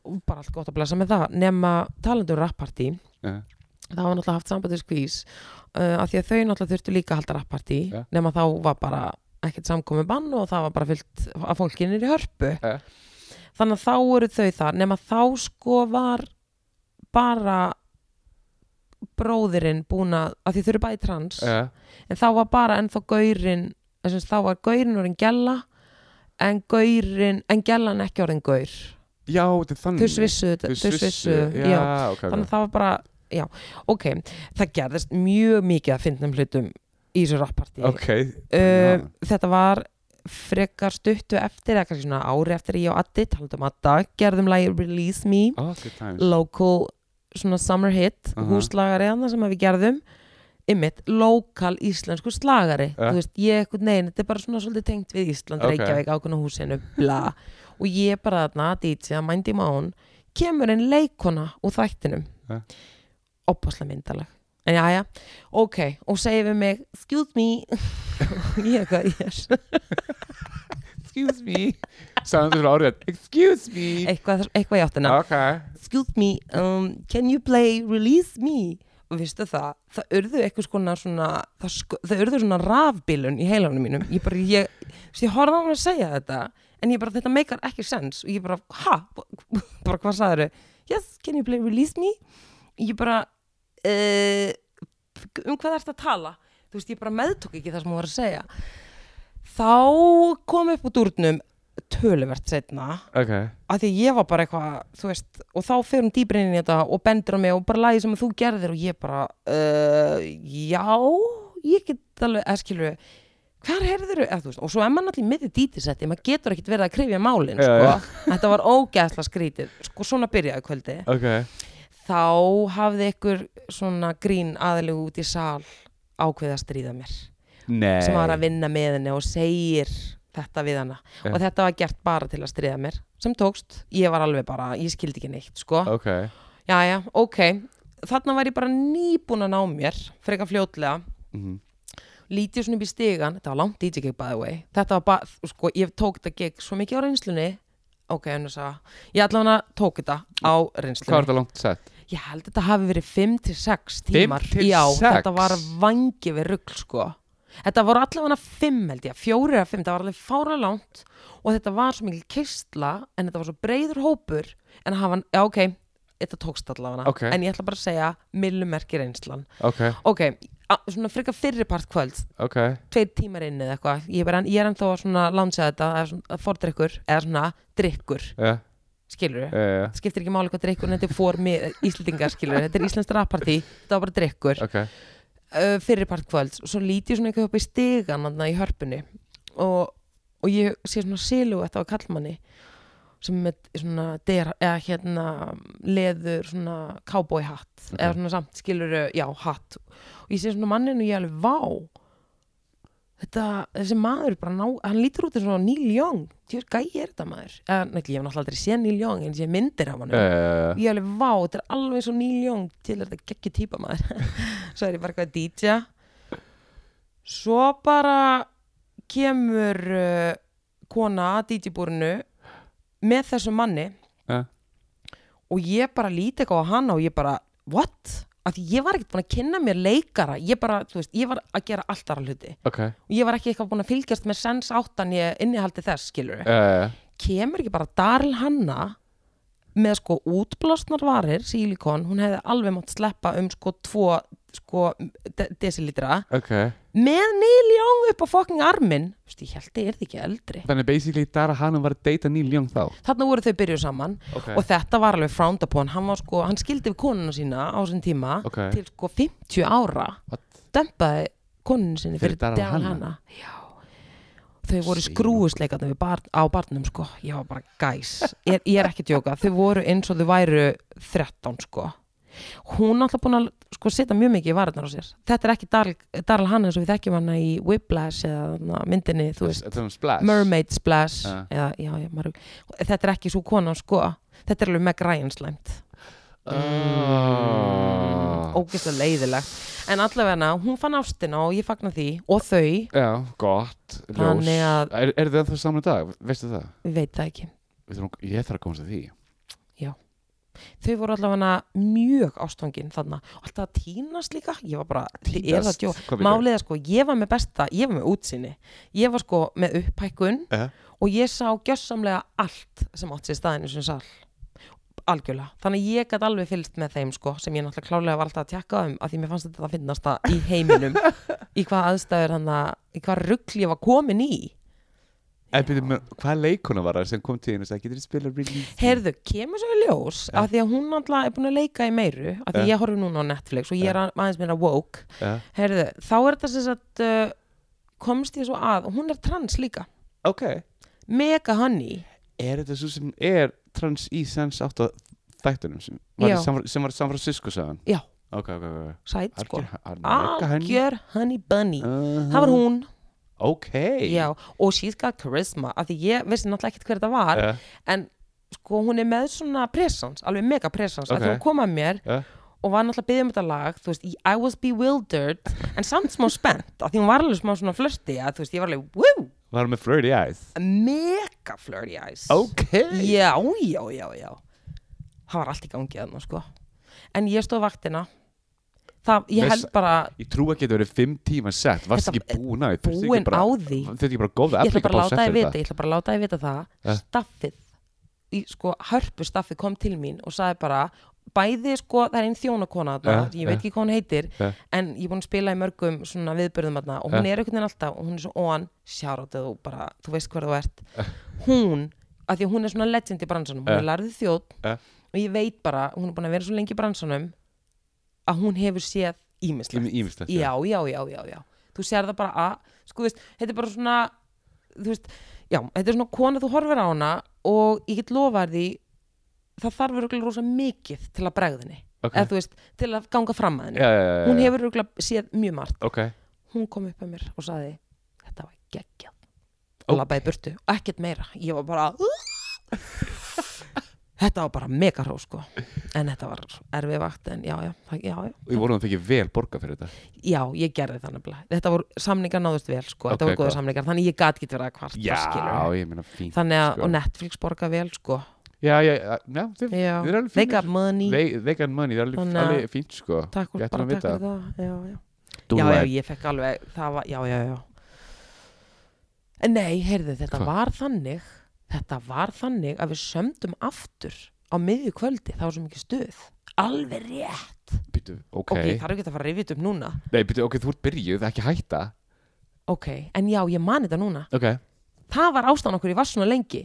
Speaker 1: og bara allt gott að blessa með það nema talandi um rappartí
Speaker 2: Ja.
Speaker 1: það var náttúrulega haft sambandið skvís uh, af því að þau náttúrulega þurftu líka að halda rappartí
Speaker 2: Ja.
Speaker 1: nema þá var bara ekkert samkomi bann og það var bara fyllt að fólkinir í hörpu
Speaker 2: Ja.
Speaker 1: þannig að þá voru þau þar nema þá sko var bara bróðirinn búin að af því þau eru bæði trans
Speaker 2: Uh,
Speaker 1: en þá var bara ennþá gaurinn þess að þá var gaurinn orðin gælla en gaurinn, en gælan ekki orðin gaur
Speaker 2: já, þetta er þannig
Speaker 1: þau svissu, þetta- þau svissu
Speaker 2: Mm. já,
Speaker 1: já.
Speaker 2: ok,
Speaker 1: þannig að
Speaker 2: ok
Speaker 1: það var bara, já, ok það gerðist mjög mikið að fyndnum hlutum í þessu rappartí
Speaker 2: Ok,
Speaker 1: uh,
Speaker 2: já.
Speaker 1: þetta var frekar stuttu eftir eða kannski svona ári eftir ég og Addi um talandum Adda, gerðum lagi Release Me
Speaker 2: Ah, good times
Speaker 1: local svona summer hit uh
Speaker 2: Aha.
Speaker 1: húslagari annað sem að við gerðum ymmit, lokal íslensku slagari
Speaker 2: Ja.
Speaker 1: þú veist, ég ekkert negin, þetta er bara svona svolítið tengt við Ísland,
Speaker 2: Ok.
Speaker 1: Reykjavík, ákveðna húsinu bla, og ég bara þarna DJ að mændi mán, kemur einn leikona úr þættinum
Speaker 2: Ja.
Speaker 1: opaslega myndalag en já, já, ok, og segir við mig excuse me ég eitthvað, yes,
Speaker 2: Excuse me Sæðan þú fyrir árið Excuse me
Speaker 1: eitthvað, eitthvað í áttina
Speaker 2: Ok
Speaker 1: excuse me, um, can you play Release Me? Og veistu það, það urðu eitthvað skona svona, það, sko, það urðu svona rafbílun í heilanum mínum. Ég bara, ég, þú veist, ég horfði á hann að segja þetta, en ég bara, þetta meikar ekki sens. Og ég bara, ha, bara hvað sagður þau? Yes, can you play Release Me? Ég bara, uh, um hvað ertu að tala? Þú veist, ég bara meðtók ekki það sem hún var að segja. Þá kom upp úr dúrnum töluvert setna
Speaker 2: ok,
Speaker 1: að því að ég var bara eitthvað, þú veist og þá fer hún dýpri inn í þetta og bendur á mig og bara lagið sem þú gerðir og ég bara uh, já ég get alveg, eða skilur hvar heyrðir þú, veist, og svo er maður allir miðið dítisetti, maður getur ekkit verið að krifja málin
Speaker 2: Já,
Speaker 1: sko.
Speaker 2: já.
Speaker 1: þetta var ógæsla skrítið sko svona byrjaði kvöldi
Speaker 2: ok
Speaker 1: þá hafði ykkur svona grín aðlegu út í sal ákveði að stríða mér
Speaker 2: Nei
Speaker 1: sem var að vinna með henni og segir þetta við hana
Speaker 2: Já.
Speaker 1: og þetta var gert bara til að stríða mér sem tókst, ég var alveg bara, ég skildi ekki neitt sko,
Speaker 2: Ok,
Speaker 1: jæja, ok þarna var ég bara nýbúin að ná mér frekar fljótlega
Speaker 2: Mhm.
Speaker 1: lítið svona upp í stigan, þetta var langt DJ gig by the way þetta var bara, sko, ég tók þetta gig svo mikið á reynslunni ok, en þess að, ég allan að tók þetta á
Speaker 2: hvað er
Speaker 1: reynslunni
Speaker 2: það langt sett?
Speaker 1: ég held þetta hafi verið 5-6
Speaker 2: Fimm
Speaker 1: tímar
Speaker 2: til
Speaker 1: já,
Speaker 2: sex?
Speaker 1: þetta var vangi við rugl sko þetta voru allavega 5 held ég 4 eða 5, það var alveg fára langt og þetta var svo mikil kistla en þetta var svo breiður hópur en hafa, já ok, þetta tókst allavega
Speaker 2: Ok.
Speaker 1: en ég ætla bara að segja millumerki reynslan
Speaker 2: Ok,
Speaker 1: ok, a, svona frekar fyrripart kvöld
Speaker 2: ok,
Speaker 1: tveir tímar inn eða eitthvað ég er, bara- ég er ennþá að svona lánsa þetta eða svona fordrykkur eða svona drykkur
Speaker 2: já,
Speaker 1: skilur
Speaker 2: já, já,
Speaker 1: það skiptir ekki máli hvað drikkur en þetta er fór með Íslendingar skilur þetta er Íslands rappartí, þetta var bara drikkur
Speaker 2: ok
Speaker 1: uh, fyrirpart kvölds og svo lít ég svona eitthvað upp í stegan þarna í hörpunni og, og ég sé svona silu þetta á kallmanni sem er með svona der, eða hérna leður svona cowboy hatt
Speaker 2: Ok.
Speaker 1: eða svona samt skilur já hatt og ég sé svona mannin og ég alveg vá þetta, þessi maður er bara ná, hann lítur út eins og Neil Young tjór gæi er þetta maður eða nefnilega ég hef náttúrulega aldrei séð Neil Young en ég sé myndir af hann
Speaker 2: Já, já, já,
Speaker 1: ég alveg vá, þetta er alveg svo Neil Young til er þetta geggju típa maður svo er ég bara eitthvað að DJ svo bara kemur uh, kona að DJ búrinu með þessum manni
Speaker 2: Ja.
Speaker 1: og ég bara líti eitthvað á hana og ég bara, what? að ég var ekkert búin að kynna mér leikara ég bara, þú veist, ég var að gera allt aðra hluti
Speaker 2: ok eh,
Speaker 1: og ég var ekki eitthvað búin að fylgjast með sens áttan ég innihaldi þess, skilur
Speaker 2: Já, já, já,
Speaker 1: kemur ekki bara Daril Hanna með sko útblásnar varir sílikon, hún hefði alveg mátt sleppa um sko 2 sko, de desilitra
Speaker 2: ok
Speaker 1: með Neil Young upp á fucking armin Þú veist, ég held ég er ekki eldri
Speaker 2: Þannig basically Dara Hanum var að deyta Neil Young þá
Speaker 1: þarna voru þau byrjuð saman
Speaker 2: Ok,
Speaker 1: og þetta var alveg frowned upon hann, var sko, hann skildi við konuna sína á þessum tíma
Speaker 2: ok,
Speaker 1: til sko 50 ára
Speaker 2: What?
Speaker 1: dömpaði konunni sinni
Speaker 2: Fyrir
Speaker 1: fyrir,
Speaker 2: Daral
Speaker 1: fyrir Daral Hanna
Speaker 2: Hanna?
Speaker 1: Já. þau voru
Speaker 2: Sýn.
Speaker 1: skrúusleikandi bar, á barnum sko, ég var bara gæs ég, ég er ekki að djóka, þau voru eins og þau væru 13 sko hún er alltaf búin að sko setja mjög mikið í varðnar á sér, þetta er ekki Daral, Daral Hanna eins og við þekkjum hana í Whiplash eða þarna myndinni, þú veist
Speaker 2: Þetta er um splash
Speaker 1: Mermaid Splash
Speaker 2: Ja.
Speaker 1: eða, já, já, maður, þetta er ekki svo kona sko þetta er alveg Meg Ryan slæmt
Speaker 2: Ah. Mm. oh.
Speaker 1: ógeðslega leiðilegt en allavega hún fann ástina og ég fagna því og þau,
Speaker 2: Já, gott, ljós
Speaker 1: Þannig að-
Speaker 2: Er, er þið ennþá saman í dag, veistu það?
Speaker 1: við veit það ekki
Speaker 2: Við þurfum, ég þarf að komast að því
Speaker 1: þau voru allavega mjög ástfangin þarna og alltaf að tínast líka ég var bara, þið er það
Speaker 2: Týnast?
Speaker 1: djó
Speaker 2: Hvað meinarðu?
Speaker 1: málið er sko, ég var með besta, ég var með útsinni ég var sko með upphækkun
Speaker 2: Eh?
Speaker 1: og ég sá gjössamlega allt sem átt sér staðinu sem sal algjörlega, þannig að ég gæti alveg fylgst með þeim sko, sem ég náttúrulega klálega var alltaf að tjekka um af því mér fannst þetta að finnast það í heiminum í hvað aðstæður hann að í hvað rugl ég var komin í
Speaker 2: En byrjum, Eh, hvað leikuna var það sem kom til þín og sagði, getur þið spila release?
Speaker 1: Herðu, kemur svo í ljós
Speaker 2: Ja.
Speaker 1: af því að hún alltaf er búin að leika í meiru af því
Speaker 2: Ja.
Speaker 1: ég horfi núna á Netflix og ég er aðeins meira woke
Speaker 2: Já.
Speaker 1: Herðu, þá er þetta sem sagt uh, komst ég svo að og hún er trans líka
Speaker 2: Ok,
Speaker 1: mega honey
Speaker 2: er þetta svo sem er trans í sens átt á þættunum sem var,
Speaker 1: Já.
Speaker 2: í San, sem var í San Francisco sagðan?
Speaker 1: Já.
Speaker 2: Ok, ok, ok.
Speaker 1: sæt sko
Speaker 2: Algjör, algjör, algjör.
Speaker 1: algjör honey bunny
Speaker 2: Uh,
Speaker 1: það var hún,
Speaker 2: Uh-huh. Ok.
Speaker 1: já, og she's got charisma af því ég vissi náttúrulega ekkert hver þetta var
Speaker 2: Eh,
Speaker 1: en sko hún er með svona presence, alveg mega presence
Speaker 2: Ok.
Speaker 1: að hún kom að mér
Speaker 2: Ja.
Speaker 1: og var náttúrulega að byggja um þetta lag þú veist, í I was bewildered en samt smá spennt, af því hún var alveg smá svona flirty að þú veist, ég var alveg, wow,
Speaker 2: var hún með flirty eyes?
Speaker 1: mega flirty eyes
Speaker 2: Ok.
Speaker 1: já, já, já, já það var allt í gangi þarna sko en ég stóð vaktina það, ég
Speaker 2: Vess-
Speaker 1: held bara
Speaker 2: Ég trú ekki að þetta verið fimm tíma sett Varst
Speaker 1: Þetta- eh,
Speaker 2: ekki búin á því Þurfti ekki
Speaker 1: búin
Speaker 2: bara-
Speaker 1: á því
Speaker 2: Þetta ekki Eh? bara góða
Speaker 1: ég ætla bara að
Speaker 2: applikapás
Speaker 1: láta þið
Speaker 2: eftir
Speaker 1: vita, ég ætla bara að láta þið vita það
Speaker 2: Ja.
Speaker 1: staffið, í, sko hörpu staffið kom til mín og sagði bara bæði sko, það er einn þjónakona þarna,
Speaker 2: Ja,
Speaker 1: ég veit
Speaker 2: ja.
Speaker 1: ekki hvað hún heitir
Speaker 2: Ja.
Speaker 1: en ég er búin að spila í mörgum svona viðbörðum þarna og
Speaker 2: Eh?
Speaker 1: hún er einhvern veginn alltaf og hún er svo on, sjárat þú bara, þú veist hver þú ert
Speaker 2: Eh?
Speaker 1: hún, af því að hún er svona legend í bransanum, hún
Speaker 2: Ja.
Speaker 1: er lærði þjótt
Speaker 2: Ja.
Speaker 1: og ég veit bara, hún er búin að vera svo lengi í bransanum að hún hefur séð ímislegt
Speaker 2: Ímislegt
Speaker 1: já, já, já, já, já þú sér það bara að, sko þú veist þetta er bara svona þú veist, já, þetta er svona kona þú horfir á hana og ég get lofað því það þarf örugglega rosa mikið til að bregðinni,
Speaker 2: Ok.
Speaker 1: eða þú veist til að ganga fram að henni,
Speaker 2: Já, já, já, já.
Speaker 1: hún hefur örugglega séð mjög margt,
Speaker 2: Ok,
Speaker 1: hún kom upp að mér og saði, þetta var geggjað
Speaker 2: Ok.
Speaker 1: og labbaði í burtu, og ekkert meira ég var bara þetta var bara mega hró sko en þetta var erfið vakt en já, já, það- já, já
Speaker 2: og ég voru að það fengi vel borga fyrir þetta
Speaker 1: Já, ég gerði það nefnilega. Þetta voru samningar náðust vel, sko.
Speaker 2: Ok,
Speaker 1: þetta voru góða
Speaker 2: gott.
Speaker 1: samningar, þannig ég gat ekki verið að kvarta, skilurðu.
Speaker 2: ég meina fínt
Speaker 1: Þannig að,
Speaker 2: sko.
Speaker 1: og Netflix borga vel, sko.
Speaker 2: Já, já, já, já
Speaker 1: Já,
Speaker 2: þið, þið er alveg
Speaker 1: they
Speaker 2: fínir.
Speaker 1: got money.
Speaker 2: They, they got money, það er alveg,
Speaker 1: Þannig að-
Speaker 2: alveg fínt sko
Speaker 1: takk fyrir,
Speaker 2: Gætum
Speaker 1: bara takk
Speaker 2: að
Speaker 1: fyrir
Speaker 2: vita.
Speaker 1: það. Já, já.
Speaker 2: Do
Speaker 1: já, já,
Speaker 2: like-
Speaker 1: ég fekk alveg, það var, já, já, já. En Nei, heyrðu, þetta
Speaker 2: Hvað?
Speaker 1: var þannig, þetta var þannig að við sömdum aftur á miðju kvöldi, það var svo mikið stuð. Alveg rétt.
Speaker 2: Bíddu, ok,
Speaker 1: Ok, það er ekki að fara að rifja þetta upp núna.
Speaker 2: Nei, bíddu, ok, þú ert byrjuð, ekki hætta
Speaker 1: Ok, en já, ég man þetta núna.
Speaker 2: Ok,
Speaker 1: það var ástæðan okkur ég var svona lengi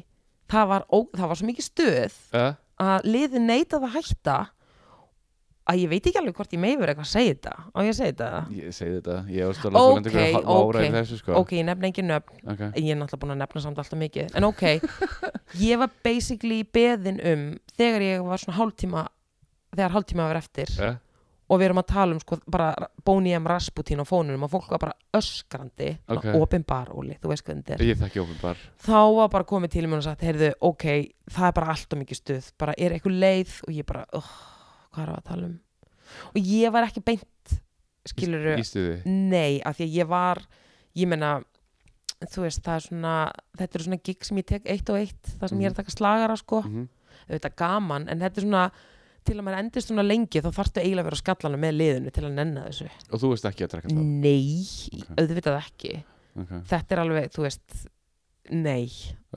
Speaker 1: það var, ó, það var svo mikið stuð
Speaker 2: uh,
Speaker 1: að liði neitað að hætta að ég veit ekki alveg hvort ég meifur eitthvað að segja þetta á ég að segja þetta
Speaker 2: ég segi þetta Ég var stóla
Speaker 1: Ah. Ok,
Speaker 2: þú lendir ykkur hálfa ára
Speaker 1: ok,
Speaker 2: í þessu sko
Speaker 1: ok, ég nefna engin nöfn
Speaker 2: Ok,
Speaker 1: ég er náttúrulega búin að nefna samt alltaf mikið en ok, ég var basically beðin um þegar ég var svona hálftíma þegar hálftíma var eftir
Speaker 2: uh,
Speaker 1: og við erum að tala um sko bara Boney M. Rasputin á fónunum og fólk var bara öskrandi
Speaker 2: Ok.
Speaker 1: okay. opinbar, Óli, þú veist hvernig þetta er
Speaker 2: Ég þekki ofnbar
Speaker 1: þá var bara komið til mér og sagt heyrðu, ok, það er bara alltaf mikið stuð bara er eitthvað leið og ég bara oh, hvað er að tala um og ég var ekki beint skilur
Speaker 2: Í stuði
Speaker 1: nei, af því að ég var ég meina, þú veist það er svona, þetta eru svona gig sem ég tek eitt og eitt, það sem ég er að taka slagara sko
Speaker 2: Mhm.
Speaker 1: auðvitað gaman, en þetta er svona til að maður endist svona lengi þá þarftu eiginlega að vera á skallanum með liðinu til að nenna þessu
Speaker 2: Og þú veist ekki að drekka það
Speaker 1: nei,
Speaker 2: Ok.
Speaker 1: auðvitað ekki
Speaker 2: Ok,
Speaker 1: þetta er alveg, þú veist nei,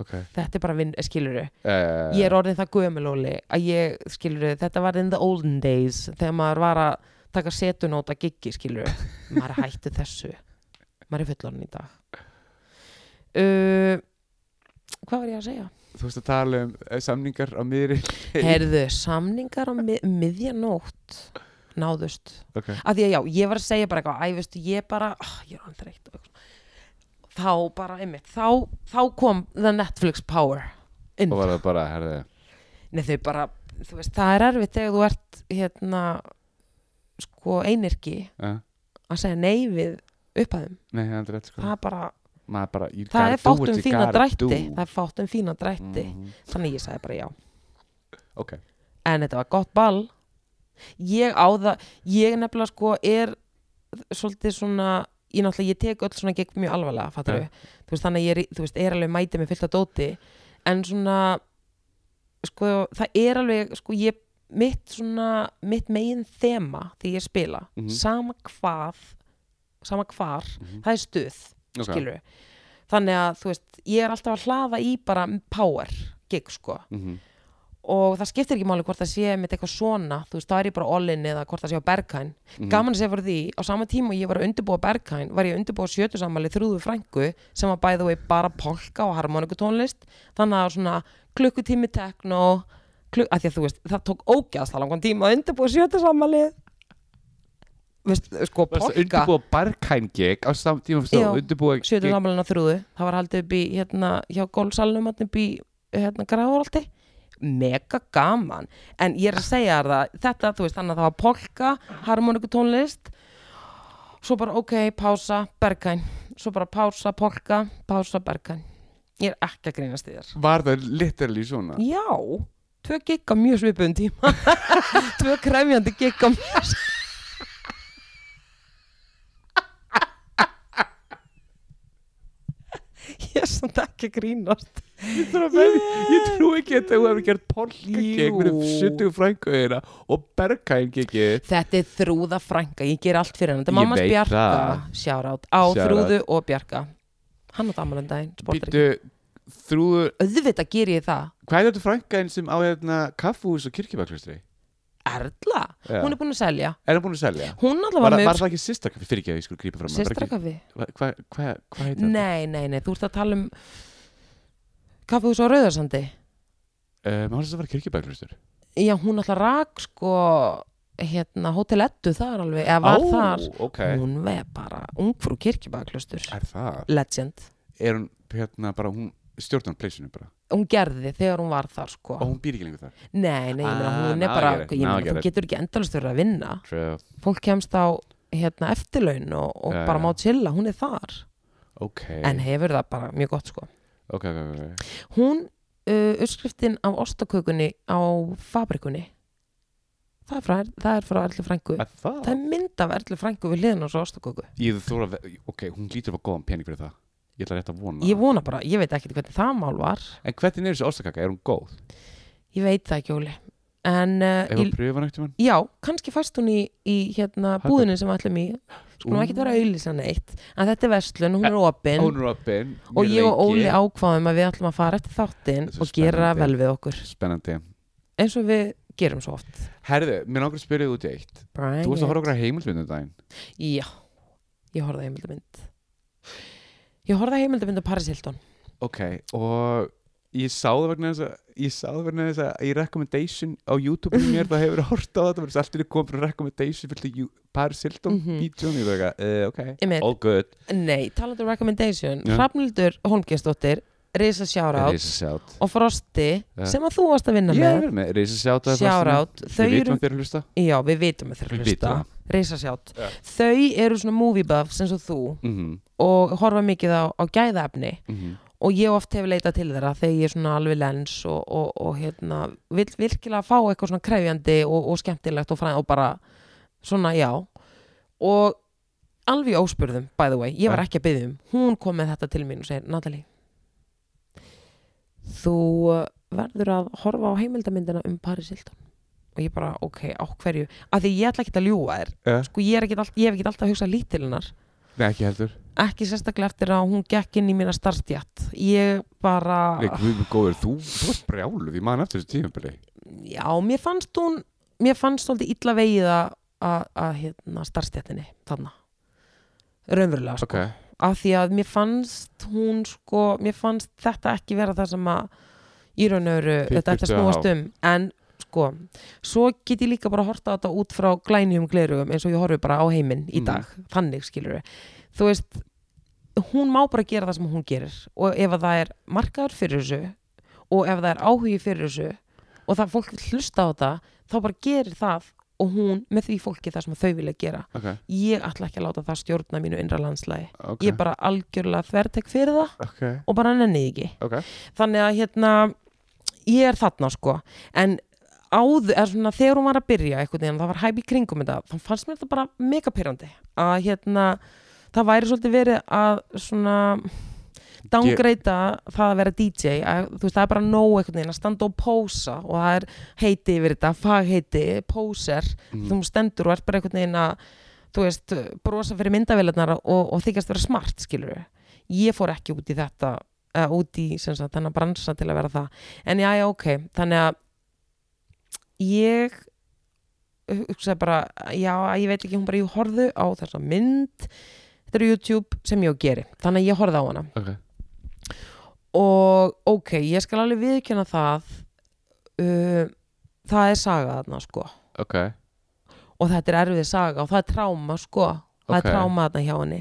Speaker 2: ok
Speaker 1: þetta er bara vinn, skiluru
Speaker 2: uh,
Speaker 1: ég er orðin það gömulóli að ég, skilur þetta var in the olden days þegar maður var að taka setunóta giggi, skilur maður er hættu þessu maður er fullorinn í dag uh, hvað var ég að segja?
Speaker 2: Þú veist að tala um eh, samningar á miðri
Speaker 1: herðu, samningar á mið, miðjanótt náðust
Speaker 2: Ok,
Speaker 1: að því að já, ég var að segja bara eitthvað æfistu, ég bara, oh, ég er hann þreytt og eitthvað. þá bara, einmitt þá, þá kom the Netflix power inn
Speaker 2: og var það bara, herði
Speaker 1: Nei þau bara, þú veist, það er erfitt þegar þú ert hérna sko einirki
Speaker 2: uh,
Speaker 1: að segja nei við upphæðum
Speaker 2: Nei, það er rétt sko
Speaker 1: það er bara,
Speaker 2: Maður bara, you
Speaker 1: það
Speaker 2: gotta
Speaker 1: er
Speaker 2: do
Speaker 1: fátt
Speaker 2: what
Speaker 1: um
Speaker 2: you
Speaker 1: fína
Speaker 2: gotta
Speaker 1: drætti
Speaker 2: do.
Speaker 1: það er fátt um fína drætti
Speaker 2: Mhm.
Speaker 1: þannig ég sagði bara já,
Speaker 2: Ok,
Speaker 1: en þetta var gott ball ég á það ég nefnilega sko er svolítið svona, ég náttúrulega ég tek öll svona gegn mjög alvarlega, fattar
Speaker 2: Ja.
Speaker 1: þú veist, þannig að ég er, í- þú veist, er alveg mætið með fullt af dóti en svona sko, það er alveg sko, ég, mitt svona mitt megin þema því ég spila
Speaker 2: Mhm.
Speaker 1: sama hvað sama hvar,
Speaker 2: Mhm.
Speaker 1: það er stuð
Speaker 2: Ok.
Speaker 1: skilur þannig að, þú veist, ég er alltaf að hlaða í bara power gig, sko
Speaker 2: mhm,
Speaker 1: og það skiptir ekki máli hvort það sé mitt eitthvað svona, þú veist, það er ég bara all-in eða hvort það sé á Berghain
Speaker 2: mhm.
Speaker 1: gaman að segja fyrir því, á sama tíma og ég var að undirbúa Berghain, var ég að undirbúa sjötusamali þrúðu frængu sem var bæði vei bara polka og harmonikutónlist þannig að svona klukkutími tekno kluk, að því að þú veist, það tók ógæðast langan tíma að undirbúa sjötusamali veist, sko
Speaker 2: Varstu að
Speaker 1: polka
Speaker 2: undirbúa barkæn gig á samt tíma
Speaker 1: Já,
Speaker 2: stóð Undirbúa gig
Speaker 1: sjötusamalin á þrúðu, það var haldið upp í hérna, hjá gólsalnum, hérna upp í hérna gráðuraldi mega gaman, en ég er að segja þér það, þetta, þú veist, þannig að það var polka harmonikutónlist svo bara, ok, pása, bergæn svo bara pása, polka, pása, bergæn ég er ekki að grínast í þér
Speaker 2: Var það literally svona
Speaker 1: já, tvö gigg á mjög svipuðum tíma tvö krefjandi gigg á mjög svipuðum ég samt ekki að grínast
Speaker 2: Ég þarf að veðja- ég trú ekki að þú hefur gert
Speaker 1: Jú.
Speaker 2: polkagig með 70 frænguðina og bergængigi
Speaker 1: Þetta er þrúða frænka, ég ger allt fyrir hann Þetta er
Speaker 2: Ég
Speaker 1: mammas
Speaker 2: veit
Speaker 1: Bjarka,
Speaker 2: það.
Speaker 1: sjárátt á
Speaker 2: Shout
Speaker 1: þrúðu og Bjarka Hann átt ammálum daginn, sportar ekki
Speaker 2: Býtu, þrúður
Speaker 1: Auðvitað ger ég það
Speaker 2: Hvað er þetta frænkaðin sem á hérna kaffuhús og kirkjubaklustri?
Speaker 1: Erla,
Speaker 2: Já.
Speaker 1: hún er búin að selja
Speaker 2: Er hann búin að selja?
Speaker 1: Hún allavega var
Speaker 2: Var, var
Speaker 1: með
Speaker 2: það ekki sýstarkafi? Fyrir ekki að ég skulle grípa fram að- var ekki-
Speaker 1: sýstrakafi
Speaker 2: Hvað hva, hva, hva heitir þetta?
Speaker 1: Nei, nei, nei, þú ert að tala um kaffehús á Rauðarsandi
Speaker 2: Uh, Mér finnst að það var kirkjubaklustri
Speaker 1: Já, hún alltaf rak sko hérna, Hotel Eddu þar alveg eða var þar,
Speaker 2: ok
Speaker 1: hún veð bara ungfrú kirkjubæðaklustur,
Speaker 2: Er það?
Speaker 1: legend
Speaker 2: Er hún hérna bara, hún stjórnar pleysinu bara
Speaker 1: hún gerði þegar hún var þar sko
Speaker 2: og hún býr ekki lengur þar
Speaker 1: nei, nei, ég meina,
Speaker 2: Ah,
Speaker 1: hún er
Speaker 2: now
Speaker 1: bara
Speaker 2: I get it,
Speaker 1: ég
Speaker 2: now
Speaker 1: meina,
Speaker 2: I get
Speaker 1: þú
Speaker 2: it.
Speaker 1: getur ekki endalast verið að vinna
Speaker 2: True.
Speaker 1: fólk kemst á hérna, eftirlaun og, og
Speaker 2: Já,
Speaker 1: bara
Speaker 2: já.
Speaker 1: má chilla, hún er þar
Speaker 2: Ok
Speaker 1: en hefur það bara mjög gott sko
Speaker 2: Ok, ok, ok
Speaker 1: hún, uh, uppskriftin af ostakökunni á fabrikunni það er frá, það er frá Erlu Frængu
Speaker 2: Er það?
Speaker 1: það er mynd af Erlu Frængu við hliðin á svo ostaköku
Speaker 2: Ég þóra, ok, hún lítur að fá góðan pening fyrir það Ég ætla rétt að vona
Speaker 1: ég vona bara, ég veit ekki hvernig það mál var
Speaker 2: En hvernig er þessi ostakaka? Er hún góð?
Speaker 1: ég veit það ekki Óli en uh,
Speaker 2: Ef
Speaker 1: ég,
Speaker 2: hún pröfa nægt um hann?
Speaker 1: já, kannski fæst hún í, í hérna
Speaker 2: Hagkaup.
Speaker 1: búðinu sem við ætlum í skulum
Speaker 2: Ú.
Speaker 1: ekki vera að auðlýsa neitt en þetta er vestlun, hún er opin
Speaker 2: Hún er opinn
Speaker 1: og ég og Óli
Speaker 2: á
Speaker 1: ákváðum að við ætlum að fara eftir þáttinn
Speaker 2: Þetta er
Speaker 1: og gera
Speaker 2: spennandi.
Speaker 1: vel við okkur
Speaker 2: Spennandi
Speaker 1: eins og við gerum svo oft
Speaker 2: Herðu, mér langar að spyrja þú út í eitt Þú varst að horfa okkur að heimildmyndu um daginn
Speaker 1: já, ég horfði að heimildamynd ég horfði að heimildamynd á Paris Hilton
Speaker 2: Ok, og ég sá það vegna þess að ég sá það vegna þess að í recommendation á YouTube í mér það hefur hort á þetta verður allt í komið frá recommendation fyrir Jú- Paris Hilton
Speaker 1: Mhm.
Speaker 2: bítjón ég verður eitthvað, uh, ok,
Speaker 1: Einmitt.
Speaker 2: all good
Speaker 1: nei, talandur recommendation,
Speaker 2: Já.
Speaker 1: Hrafnildur Holmgjensdóttir Risa Sjárátt
Speaker 2: Risa sjátt
Speaker 1: og Frosti
Speaker 2: Já.
Speaker 1: sem að þú varst að vinna
Speaker 2: Ég
Speaker 1: með
Speaker 2: er verið með Risa sjátt
Speaker 1: sjárátt, þau eru
Speaker 2: Við vitum að þeir hlusta
Speaker 1: já, við vitum að þeir
Speaker 2: Við
Speaker 1: hlusta
Speaker 2: vitum það.
Speaker 1: reysasjátt,
Speaker 2: Já.
Speaker 1: þau eru svona movie buffs eins og þú
Speaker 2: Mhm,
Speaker 1: og horfa mikið á, á gæðaefni
Speaker 2: mhm.
Speaker 1: og ég oft hef leitað til þeirra þegar ég er svona alveg lens og, og, og hérna, vil virkilega fá eitthvað svona krefjandi og, og skemmtilegt og, fræ, og bara svona já og alveg í óspurðum by the way, ég var
Speaker 2: Já.
Speaker 1: ekki að byggja um hún kom með þetta til mín og segir Natalie þú verður að horfa á heimildamyndina um Paris Hilton og ég bara ok, á hverju af því ég ætla ekki að ljúga þér
Speaker 2: Já.
Speaker 1: sko, ég, er ekkert all, ég hef ekki alltaf að hugsa lít til hennar
Speaker 2: Eh, Nei, ekki heldur
Speaker 1: ekki sérstaklega eftir að hún gekk inn í mína starfstjætt ég bara
Speaker 2: Nei, guð minn góður, þú, þú varst brjáluð, ég man eftir þessu tímabili
Speaker 1: já, mér fannst hún mér fannst svolítið illa vegið að- að að, hérna, starfstjættinni þarna raunverulega sko.
Speaker 2: Ok,
Speaker 1: af því að mér fannst hún sko, mér fannst þetta ekki vera það sem að í raun og veru
Speaker 2: Þið
Speaker 1: þetta ætti að
Speaker 2: þurftuð að
Speaker 1: snúast um en sko, svo get ég líka bara að horta á þetta út frá glænjum glerugum eins og ég horfi bara á heiminn í
Speaker 2: Mhm.
Speaker 1: dag þannig skilur við, þú veist hún má bara gera það sem hún gerir og ef að það er markaður fyrir þessu og ef það er áhugi fyrir þessu og það fólk vil hlusta á það þá bara gerir það og hún með því fólki það sem þau vilja gera
Speaker 2: ok,
Speaker 1: ég ætla ekki að láta það stjórna mínu innra landslægi
Speaker 2: ok
Speaker 1: ég bara algjörlega þvertek fyrir það
Speaker 2: Ok,
Speaker 1: og bara nenni því ekki
Speaker 2: ok
Speaker 1: þannig að hérna ég er þarna sko en áður, er svona, þegar hún var að byrja einhvern veginn, það var hæp í kringum þetta þá fannst mér þetta bara mega pyrrandi að hérna, það væri svolítið verið að svona dangreita það að vera DJ að, þú veist, það er bara nóg einhvern veginn að standa og pósa og það er heiti yfir þetta fagheiti, póser
Speaker 2: Mhm.
Speaker 1: þú stendur og ert bara einhvern veginn að þú veist, brosa fyrir myndavélarnar og, og þykjast vera smart, skilur ég fór ekki út í þetta uh, út í sem sagt, þennan bransa til að vera það en já, já, ok, þannig að ég hugsaði bara, já, ég veit ekki hún bara, ég horfðu á þessa mynd þetta er YouTube sem ég geri þannig að ég horfði á hana
Speaker 2: Ok,
Speaker 1: og ok, ég skal alveg viðkjöna það uh, það er saga þarna sko
Speaker 2: ok,
Speaker 1: og þetta er erfið saga og það er tráma sko það
Speaker 2: Ok.
Speaker 1: er tráma þarna hjá henni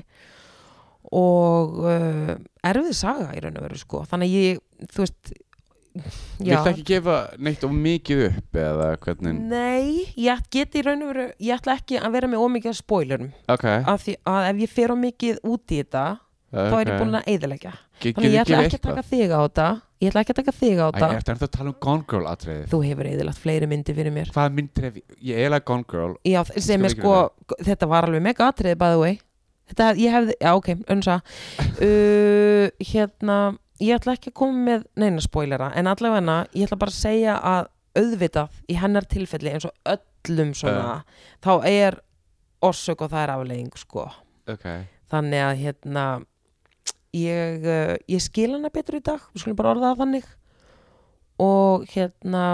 Speaker 1: og uh, erfið saga í raun og veru sko þannig að ég, þú veist já.
Speaker 2: Viltu ekki gefa neitt of mikið upp eða hvernig
Speaker 1: Nei, ég geti í raun og veru ég ætla ekki að vera með ómikið af spoilerum
Speaker 2: Ok,
Speaker 1: af því að ef ég fer ómikið út í þetta þá er ég búin að eyðileggja
Speaker 2: Ge-
Speaker 1: þannig að ég
Speaker 2: getur
Speaker 1: ætla
Speaker 2: gefið
Speaker 1: ekki að
Speaker 2: eitthvað?
Speaker 1: taka þig á þetta ég ætla ekki að taka þig á
Speaker 2: Æ,
Speaker 1: þetta
Speaker 2: ég ætti ennþá að tala um Gone Girl atriðið
Speaker 1: þú hefur eðilagt fleiri myndi fyrir mér
Speaker 2: Hvað myndir ef ég er eiginlega Gone Girl
Speaker 1: já, sem
Speaker 2: Skal
Speaker 1: er
Speaker 2: við
Speaker 1: sko, þetta var alveg mega atriði by the way þetta, hef- ég hefði, já ok, önsa uh, hérna, ég ætla ekki að koma með neina spoilera en allavega ég ætla bara að segja að auðvitað í hennar tilfelli eins og öllum svona þá er orsök og það er afleiðing sko
Speaker 2: ok,
Speaker 1: þannig að hérna ég, uh, ég skil hana betur í dag við skulum bara orða það þannig og hérna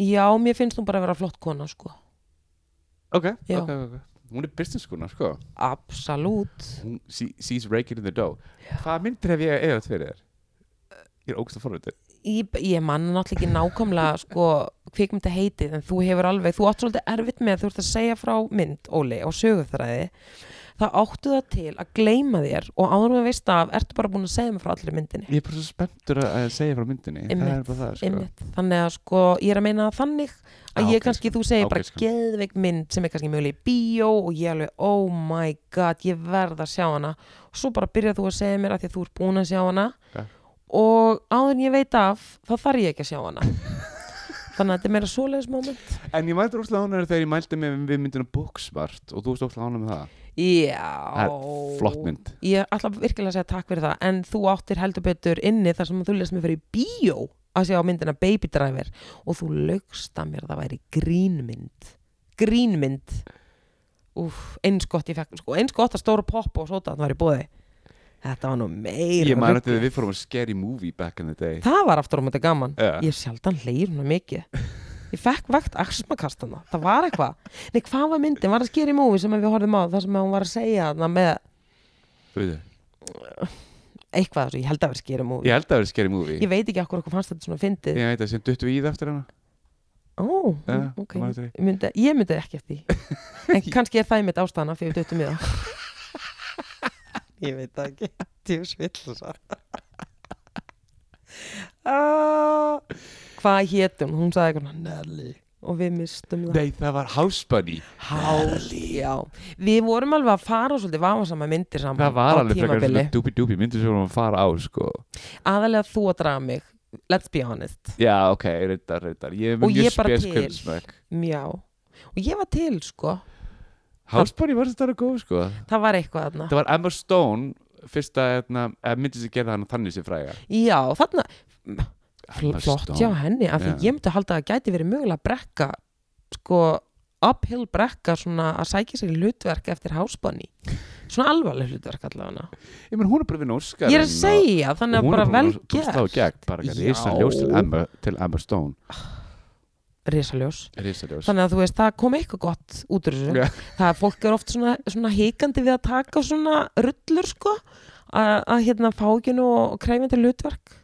Speaker 1: já, mér finnst hún bara að vera flott kona sko,
Speaker 2: ok,
Speaker 1: Já.
Speaker 2: ok, ok hún er business skona, sko
Speaker 1: absolút
Speaker 2: hún, she, she's raking in the dough hvað myndir hef ég eða fyrir þér? ég er ógst að forvitið
Speaker 1: ég, ég manna náttúrulega ekki nákvæmlega sko, kvikmynda heitið en þú hefur alveg, þú átt svolítið erfitt með þú ert að segja frá mynd, Óli, og sögurþræði þá áttu það til að gleyma þér og áður með veist af ertu bara búin að segja mig frá allir myndinni
Speaker 2: ég er bara svo spenntur að- að segja frá myndinni það er
Speaker 1: Einmitt,
Speaker 2: bara það, sko
Speaker 1: Einmitt. þannig að sko, ég er að meina það þannig að
Speaker 2: Ah,
Speaker 1: ég
Speaker 2: ok,
Speaker 1: kannski,
Speaker 2: sko.
Speaker 1: þú segir
Speaker 2: Ok,
Speaker 1: bara
Speaker 2: sko.
Speaker 1: geðveik mynd sem er kannski möguleg í bíó og ég alveg, oh my god, ég verð að sjá hana og svo bara byrjar þú að segja mér að því að þú ert búin að sjá hana
Speaker 2: Ok.
Speaker 1: og áður en ég veit af, þá þarf ég ekki að sjá hana þannig að þetta er meira svoleiðis moment
Speaker 2: en ég mælti óslega ánæður þegar ég mælti mig við myndina Booksmart og þú varst óslega ánæður með það
Speaker 1: já,
Speaker 2: það er flott mynd
Speaker 1: ég ætla virkilega að segja takk fyrir það en þú áttir heldur betur inni þar sem þú lest mér fyrir í bíó að sjá myndina Baby Driver og þú lögst að mér að það væri grínmynd grínmynd Úf, eins gott ég fekk sko, eins gott að stóra popp og sóta var í bóði þetta var nú meira
Speaker 2: ég mælti
Speaker 1: ruglið.
Speaker 2: þegar við fórum að scary movie back in the day
Speaker 1: það var aftur á móti gaman
Speaker 2: Já.
Speaker 1: ég sjaldan hleyr nú mikið ég fekk vakt arsmakastana, það var eitthvað nei hvað var myndin, var það skýri múfi sem við horfðum á það sem hún var að segja þarna með
Speaker 2: Þú veit það.
Speaker 1: eitthvað, svo ég held að vera skýri múfi
Speaker 2: ég held að það verið scary movie
Speaker 1: Ég veit ekki okkur okkur fannst þetta svona fyndið
Speaker 2: ég veit það sem duttu í það eftir hana
Speaker 1: Ó,
Speaker 2: Já,
Speaker 1: ok
Speaker 2: maður eftir því.
Speaker 1: Ég myndi, Ég myndi ekki eftir því En kannski er það í mitt ástæðana fyrir döttum í það Ég veit það ekki Djús vill það Ah, Hvað hét hún? Hún sagði eitthvað Nelly Og við mistum það
Speaker 2: nei það var House Bunny
Speaker 1: Hás, já Við vorum alveg að fara á svolítið vafasama myndir saman
Speaker 2: það var
Speaker 1: á
Speaker 2: alveg frekar
Speaker 1: tímabili.
Speaker 2: svona dúbi dúbi myndir sem við vorum að fara á sko
Speaker 1: Aðalega þú að draga mig Let's be honest
Speaker 2: já ok, reyndar, reyndar ég er
Speaker 1: Og
Speaker 2: með
Speaker 1: ég
Speaker 2: mjög
Speaker 1: bara
Speaker 2: spes
Speaker 1: til.
Speaker 2: kvöldsmökk
Speaker 1: Já Og ég var til, sko
Speaker 2: House Bunny var þetta góð sko
Speaker 1: Það var eitthvað þarna
Speaker 2: það var Emma Stone fyrsta hérna, eða myndi sem gerði hann þannig sem fræga
Speaker 1: Já, þarna
Speaker 2: Emma
Speaker 1: fl flott
Speaker 2: Stone.
Speaker 1: hjá henni af því
Speaker 2: Já.
Speaker 1: ég myndi halda að það gæti verið mögulega brekka sko uphill brekka svona að sækja sér í hlutverk eftir hásbanni svona alvarleg hlutverk allavega
Speaker 2: ég menn hún er bara við Óskar
Speaker 1: ég er að segja þannig að bara vel
Speaker 2: tókst á
Speaker 1: gert
Speaker 2: gegn bara
Speaker 1: Já.
Speaker 2: risa ljós til Emma, til Emma Stone
Speaker 1: risaljós
Speaker 2: risa ljós
Speaker 1: þannig að þú veist það kom eitthvað gott út úr þessu
Speaker 2: Já.
Speaker 1: það er fólk er oft svona, svona hikandi við að taka svona rullur sko að að hérna fá ekki nú kræfandi hlutverk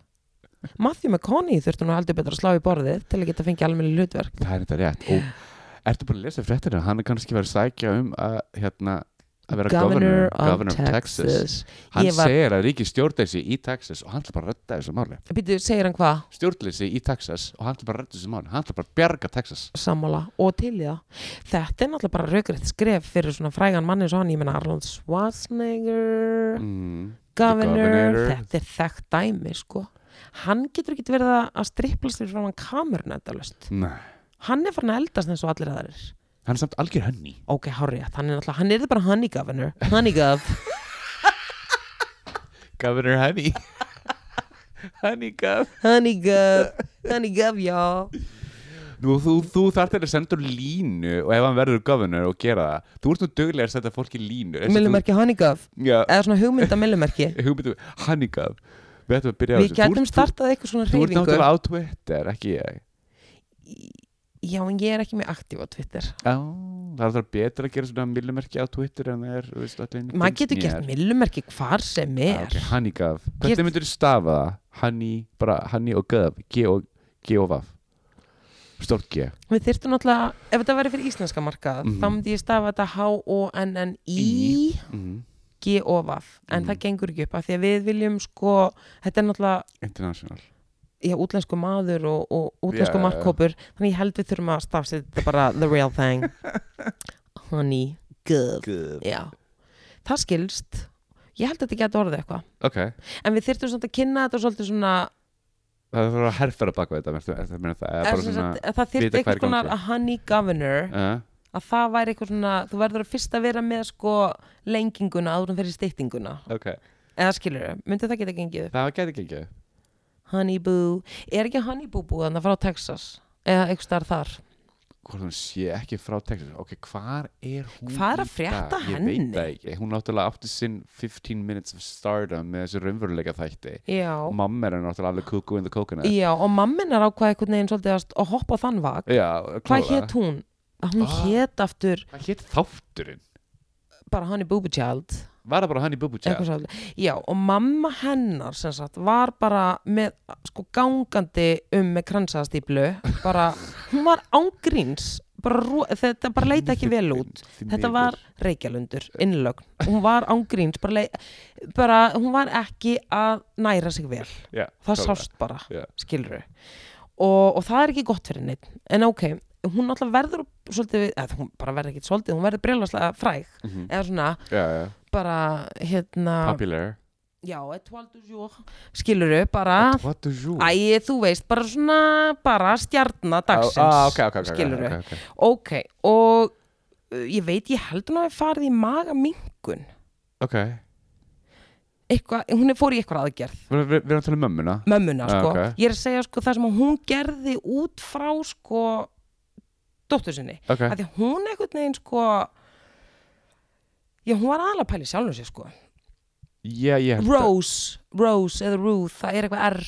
Speaker 1: Matthew McConaughey þurfti nú heldur betur að slá í borðið til að geta fengið almenni hlutverk
Speaker 2: það er þetta rétt og ertu bara að lesa fréttina hann er kannski verið að sækja um að hérna að vera governor, governor of Texas. hann
Speaker 1: Ég var-
Speaker 2: segir að ríki stjórnleysi í Texas og hann ætla bara að redda þessu máli
Speaker 1: Býtu, segir hann hvað?
Speaker 2: stjórnleysi í Texas og hann ætla bara að redda þessu máli hann ætla bara að bjarga Texas
Speaker 1: Sammála og til í það. Þetta er náttúrulega bara raukriðt skref fyrir svona frægan manni svo hann, ég meina Arnold Schwarzenegger,
Speaker 2: mm.
Speaker 1: governor,
Speaker 2: Governor.
Speaker 1: þetta er þekkt dæmi, sko. Hann getur ekki verið að að striplast fyrir frá hann kamerun endalust.
Speaker 2: Nei.
Speaker 1: Hann er farin að eldast eins og allir aðrir.
Speaker 2: hann er samt algjör henni
Speaker 1: Ok, hárið, hann er náttúrulega, hann er bara honey governor, honey gov.
Speaker 2: governor henni henni gaf
Speaker 1: honey gov, honey gov, já.
Speaker 2: Nú, þú, þú þarf þetta að senda úr línu og ef hann verður governor og gera það þú ert nú duglega að senda fólki línu Eins og þú-
Speaker 1: Millumerki honey gov,
Speaker 2: Já,
Speaker 1: eða svona hugmynda millumerki.
Speaker 2: hugmyndu, Hannigað Við ættum að byrja á
Speaker 1: Við
Speaker 2: þessu Þú
Speaker 1: gætum
Speaker 2: ert- þú-
Speaker 1: startað eitthvað svona
Speaker 2: Þú ert
Speaker 1: reyfingu.
Speaker 2: náttúrulega á Twitter, ekki ég
Speaker 1: Já, en ég er ekki mjög aktíf á Twitter.
Speaker 2: Já, það er það betra að gera svona millumerki á Twitter en það er, þú veist, allir
Speaker 1: Maður getur gert millumerki hvar sem er.
Speaker 2: okay, Hannigað,
Speaker 1: Ég-
Speaker 2: hvernig myndur þú stafa það? Hanni, bara Hanni og Gaf G og, G og Vaf Stórt G
Speaker 1: Við þyrftum náttúrulega, ef þetta væri fyrir íslenska markað,
Speaker 2: Mhm.
Speaker 1: þá myndi ég stafa þetta
Speaker 2: Í.
Speaker 1: H-O-N-N-I-G-O-V.
Speaker 2: mm.
Speaker 1: En
Speaker 2: Mhm.
Speaker 1: það gengur ekki upp af því að við viljum sko, þetta er náttúrulega,
Speaker 2: International
Speaker 1: já, útlensku maður og, og útlensku
Speaker 2: Já, já, já.
Speaker 1: markkópur, þannig ég held við þurfum að stafsið þetta bara the real thing. Honey, gov.
Speaker 2: Gaf
Speaker 1: Já, það skilst. Ég held að þetta geti orðið eitthvað.
Speaker 2: Ok,
Speaker 1: En við þyrftum samt að kynna þetta svolítið svona
Speaker 2: það er það að herfæra baka þetta mertu, er, meina, það er bara
Speaker 1: Eða sem
Speaker 2: svona
Speaker 1: sagt, að það
Speaker 2: vita
Speaker 1: þyrfti
Speaker 2: hvað er í
Speaker 1: eitthvað konar
Speaker 2: gangi.
Speaker 1: að honey governor
Speaker 2: uh,
Speaker 1: að það væri eitthvað svona, þú verður að fyrst að vera með sko lenginguna áður en fyrir styttinguna
Speaker 2: Ok,
Speaker 1: eða skilur, myndi það geta gengið upp?
Speaker 2: Það gæti ekki
Speaker 1: Honey Boo, er ekki Honey Boo búið að frá Texas? eða einhvers staðar þar
Speaker 2: Hvort hún sé ekki frá Texas Ok, hvar er hún
Speaker 1: Hvað er að
Speaker 2: í
Speaker 1: frétta
Speaker 2: dag? Ég
Speaker 1: henni?
Speaker 2: veit það ekki Hún náttúrulega átti sinn 15 minutes of stardom með þessu raunveruleika þætti
Speaker 1: já,
Speaker 2: og mamma er náttúrulega alveg cuckoo in the coconut
Speaker 1: já, og mamminar ákvað einhvern veginn svolítið að st- að hoppa á þann vag
Speaker 2: Já,
Speaker 1: hvað
Speaker 2: klálega.
Speaker 1: hét hún? Að hún
Speaker 2: Ah.
Speaker 1: hét aftur
Speaker 2: Hvað hét þátturinn?
Speaker 1: bara Honey Boo Boo Child
Speaker 2: Var það bara hann í Bubba
Speaker 1: eitthvað
Speaker 2: Chat?
Speaker 1: svolítið, já, og mamma hennar sem sagt var bara með sko gangandi um með kransastýplu bara, hún var ángríns bara, rú- þetta bara leita ekki vel út þetta var Reykjalundur, innlögn hún var ángríns, bara, lei- bara hún var ekki að næra sig vel
Speaker 2: Já,
Speaker 1: það
Speaker 2: klálega.
Speaker 1: sást bara,
Speaker 2: Já.
Speaker 1: skilur og, og það er ekki gott fyrir neitt en ok, hún alltaf verður svolítið, eða hún bara verður ekki svolítið hún verður brjólaslega fræg
Speaker 2: Mhm.
Speaker 1: eða svona
Speaker 2: Já, já,
Speaker 1: bara hérna
Speaker 2: popular
Speaker 1: já, étoile du jour skiluru bara,
Speaker 2: What do you?
Speaker 1: Ah. æ, þú veist bara svona, bara stjarnar dagsins
Speaker 2: ah, ok, ok, ok, ok,
Speaker 1: skilurðu.
Speaker 2: ok, ok.
Speaker 1: ok, og uh, ég veit ég held hún að farið í magamingun
Speaker 2: Ok,
Speaker 1: eitthvað, hún er fór í eitthvað aðgerð
Speaker 2: við við- við erum að tala um mömmuna
Speaker 1: mömmuna,
Speaker 2: Ah,
Speaker 1: sko,
Speaker 2: ok.
Speaker 1: ég er að segja sko það sem að hún gerði út frá sko, dóttur sinni
Speaker 2: Ok,
Speaker 1: að því að hún einhvern veginn sko já, hún var aðalega að pæla í sjálfum sér sko
Speaker 2: já, ég held að
Speaker 1: Rose, Rose eða Ruth, það er eitthvað R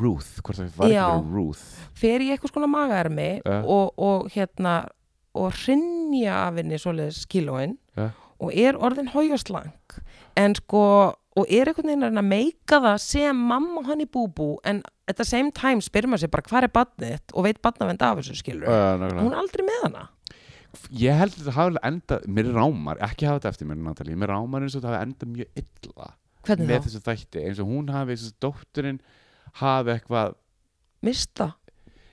Speaker 2: Ruth, hvort það var ekki
Speaker 1: Já.
Speaker 2: verið Ruth
Speaker 1: fer í eitthvað skona magaermi
Speaker 2: Ja.
Speaker 1: og, og hérna og hrinja af henni svoleiðis kílóin
Speaker 2: Ja.
Speaker 1: og er orðin hójaslang en sko og er einhvern veginn að reyna að meika það sem mamma hann í búbú en at the same time spyr maður sér bara hvað er badnið þitt og veit badnavend af þessu skilur
Speaker 2: uh, nákvæmlega.
Speaker 1: hún er aldrei með hana
Speaker 2: Ég held að þetta hafi enda Mér rámar, ekki hafa þetta eftir mér Natalie Mér rámar eins og þetta hafi enda mjög illa
Speaker 1: hvernig
Speaker 2: með
Speaker 1: þá?
Speaker 2: þessu þætti eins og hún hafi, eins og dótturinn hafi eitthvað
Speaker 1: Mista?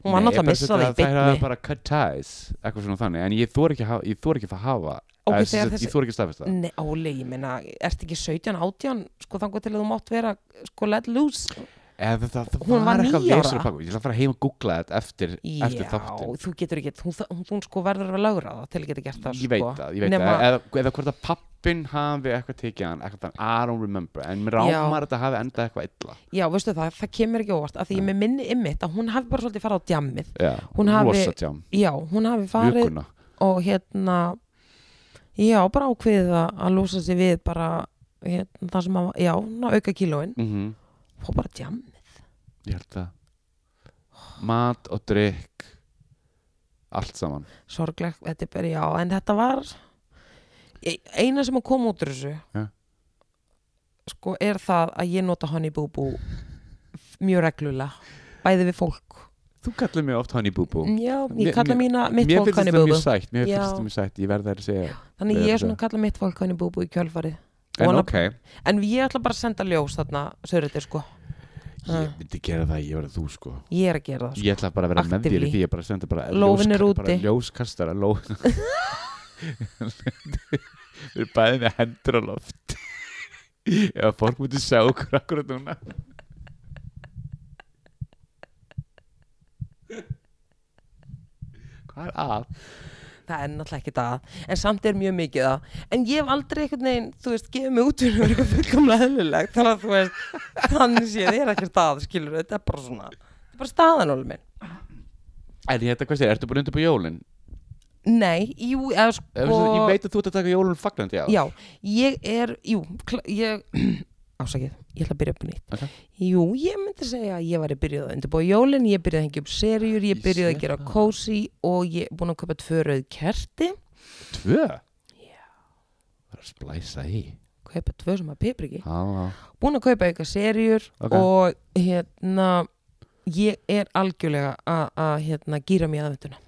Speaker 1: hún var
Speaker 2: Nei,
Speaker 1: náttúrulega að
Speaker 2: bara
Speaker 1: missa
Speaker 2: þetta-
Speaker 1: það í
Speaker 2: þær hafa
Speaker 1: bytni
Speaker 2: bara cut ties, eitthvað svona þannig en ég þor ekki að hafa, ég þor ekki að hafa
Speaker 1: Ok,
Speaker 2: eða
Speaker 1: þegar
Speaker 2: sem sagt,
Speaker 1: þessi- Mm.
Speaker 2: ég þor ekki að staðfesta það.
Speaker 1: Nei, Óli, ég meina, ertu ekki 17, 18 sko þangur til að þú mátt vera sko let loose
Speaker 2: eða það, það
Speaker 1: Hún var
Speaker 2: var eitthvað
Speaker 1: níu ára.
Speaker 2: vesur á baku ég ætla að fara heim og googla þetta eftir, eftir þáttin
Speaker 1: þú getur ekki, hún, hún, hún sko verður að lögra það til að geta gert það sko.
Speaker 2: ég veit það, ég veit
Speaker 1: Nema-
Speaker 2: það eða, eða hvort að pappin hafi eitthvað tekið hann eitthvað þannig, I don't remember en mér rámar þetta hafi endað eitthvað illa
Speaker 1: Já, veistu það, það kemur ekki óvart að því ég með minni ymmit að hún hafi bara svolítið farið á djammið
Speaker 2: já,
Speaker 1: Hún hafi-
Speaker 2: rosa tjám,
Speaker 1: Já, hún hafi farið
Speaker 2: vikuna
Speaker 1: og hérna já, bara ákveðið að- að lúsa sig við bara hérna, það sem að, já, ná, auka kílóin
Speaker 2: mm
Speaker 1: og bara djammið
Speaker 2: ég held það mat og drikk allt saman
Speaker 1: sorgleg, þetta er bara, já, en þetta var Ég- eina sem að koma út úr þessu
Speaker 2: Ja.
Speaker 1: sko er það að ég nota Honey Boo Boo mjög reglulega bæði við fólk
Speaker 2: þú kallar mig oft Honey Boo Boo
Speaker 1: Já,
Speaker 2: Mér-
Speaker 1: ég kalla
Speaker 2: mér-
Speaker 1: mína Mm, mitt
Speaker 2: mér
Speaker 1: fólk
Speaker 2: finnst
Speaker 1: Honey
Speaker 2: þetta
Speaker 1: Boo
Speaker 2: mjög
Speaker 1: Boo
Speaker 2: sætt mér
Speaker 1: Já.
Speaker 2: finnst þetta mjög sætt, ég verði það að segja
Speaker 1: Þannig ég er
Speaker 2: Þetta-
Speaker 1: svona að kalla mitt fólk Honey Boo Boo í kjölfarið
Speaker 2: en
Speaker 1: Vona-
Speaker 2: ok,
Speaker 1: En ég ætla bara að senda ljós þarna Sörutir sko,
Speaker 2: ég myndi gera það ég verði þú sko
Speaker 1: ég er að gera það sko.
Speaker 2: ég ætla bara að vera með þér í
Speaker 1: Actively.
Speaker 2: því ég bara sendi bara
Speaker 1: Lófinn er
Speaker 2: ljóska-
Speaker 1: úti.
Speaker 2: bara ljóskastara lófin við erum bæðið með hendur á loft ef að fólk myndi sjá okkur akkur núna hvað er að?
Speaker 1: Það er náttúrulega ekki það En samt er mjög mikið það En ég hef aldrei einhvern veginn, þú veist, gefið mig út fyrir eitthvað fullkomlega eðlilegt Þannig að þú veist, þannig sé ég er ekki það, skilur þetta er bara svona Þetta er bara staðan alveg minn
Speaker 2: En hérna hvað segir, ertu búin undir på jólin?
Speaker 1: Nei, jú, eða
Speaker 2: Ef,
Speaker 1: sko
Speaker 2: og... Ég veit að þú ert að taka jólin fagnandi á
Speaker 1: Já, ég er, jú, kla- ég, ásakið, ég ætla að byrja upp á nýtt.
Speaker 2: Ok.
Speaker 1: Jú, ég myndi segja að ég væri byrjuð að undirbúa jólinn, ég byrjuð að hengja upp serjur, ég
Speaker 2: Ég
Speaker 1: byrjuð
Speaker 2: sé
Speaker 1: að gera
Speaker 2: það.
Speaker 1: kósi og ég er búin að köpa tvö rauð kerti,
Speaker 2: Tvö? Já Það er að splæsa í
Speaker 1: kaupa tvö sem að pipriki,
Speaker 2: Já, já
Speaker 1: búin að kaupa eitthvað serjur
Speaker 2: Ok.
Speaker 1: og hérna, ég er algjörlega að- að hérna gýra mér aðvenduna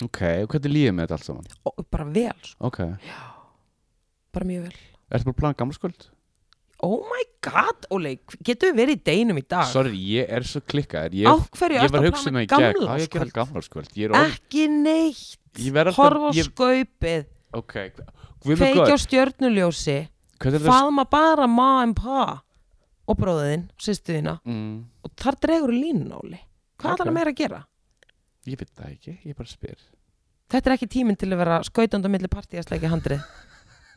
Speaker 2: Ok, og hvernig líðið með þetta allt saman?
Speaker 1: og bara vel, sko,
Speaker 2: Ok
Speaker 1: bara mjög vel.
Speaker 2: Ertu bara að plana gamlskvöld?
Speaker 1: Oh my god, Óli, getur við verið í deginum í dag?
Speaker 2: Sorry, ég er svo klikkaður Ég,
Speaker 1: Á hverju
Speaker 2: ég
Speaker 1: ertu að
Speaker 2: var hugsa um
Speaker 1: plana
Speaker 2: það í gegn
Speaker 1: gamlárskvöld?
Speaker 2: Á, ég gerði gamlskvöld Ég er orð
Speaker 1: ekki neitt
Speaker 2: Ég verð alltaf-
Speaker 1: horfa á
Speaker 2: ég-
Speaker 1: skaupið
Speaker 2: Ok, við með
Speaker 1: kveikja á
Speaker 2: góð
Speaker 1: stjörnuljósi
Speaker 2: Hvað er það?
Speaker 1: faðma bara ma en pa og bróðin, sýstuðina
Speaker 2: Mm,
Speaker 1: og þar dregur línunáli hvað okay.
Speaker 2: Ok.
Speaker 1: er meira að gera?
Speaker 2: ég veit það ekki, ég bara spyr
Speaker 1: Þetta er ekki tíminn til að vera skautandi á milli partí að slækja handrið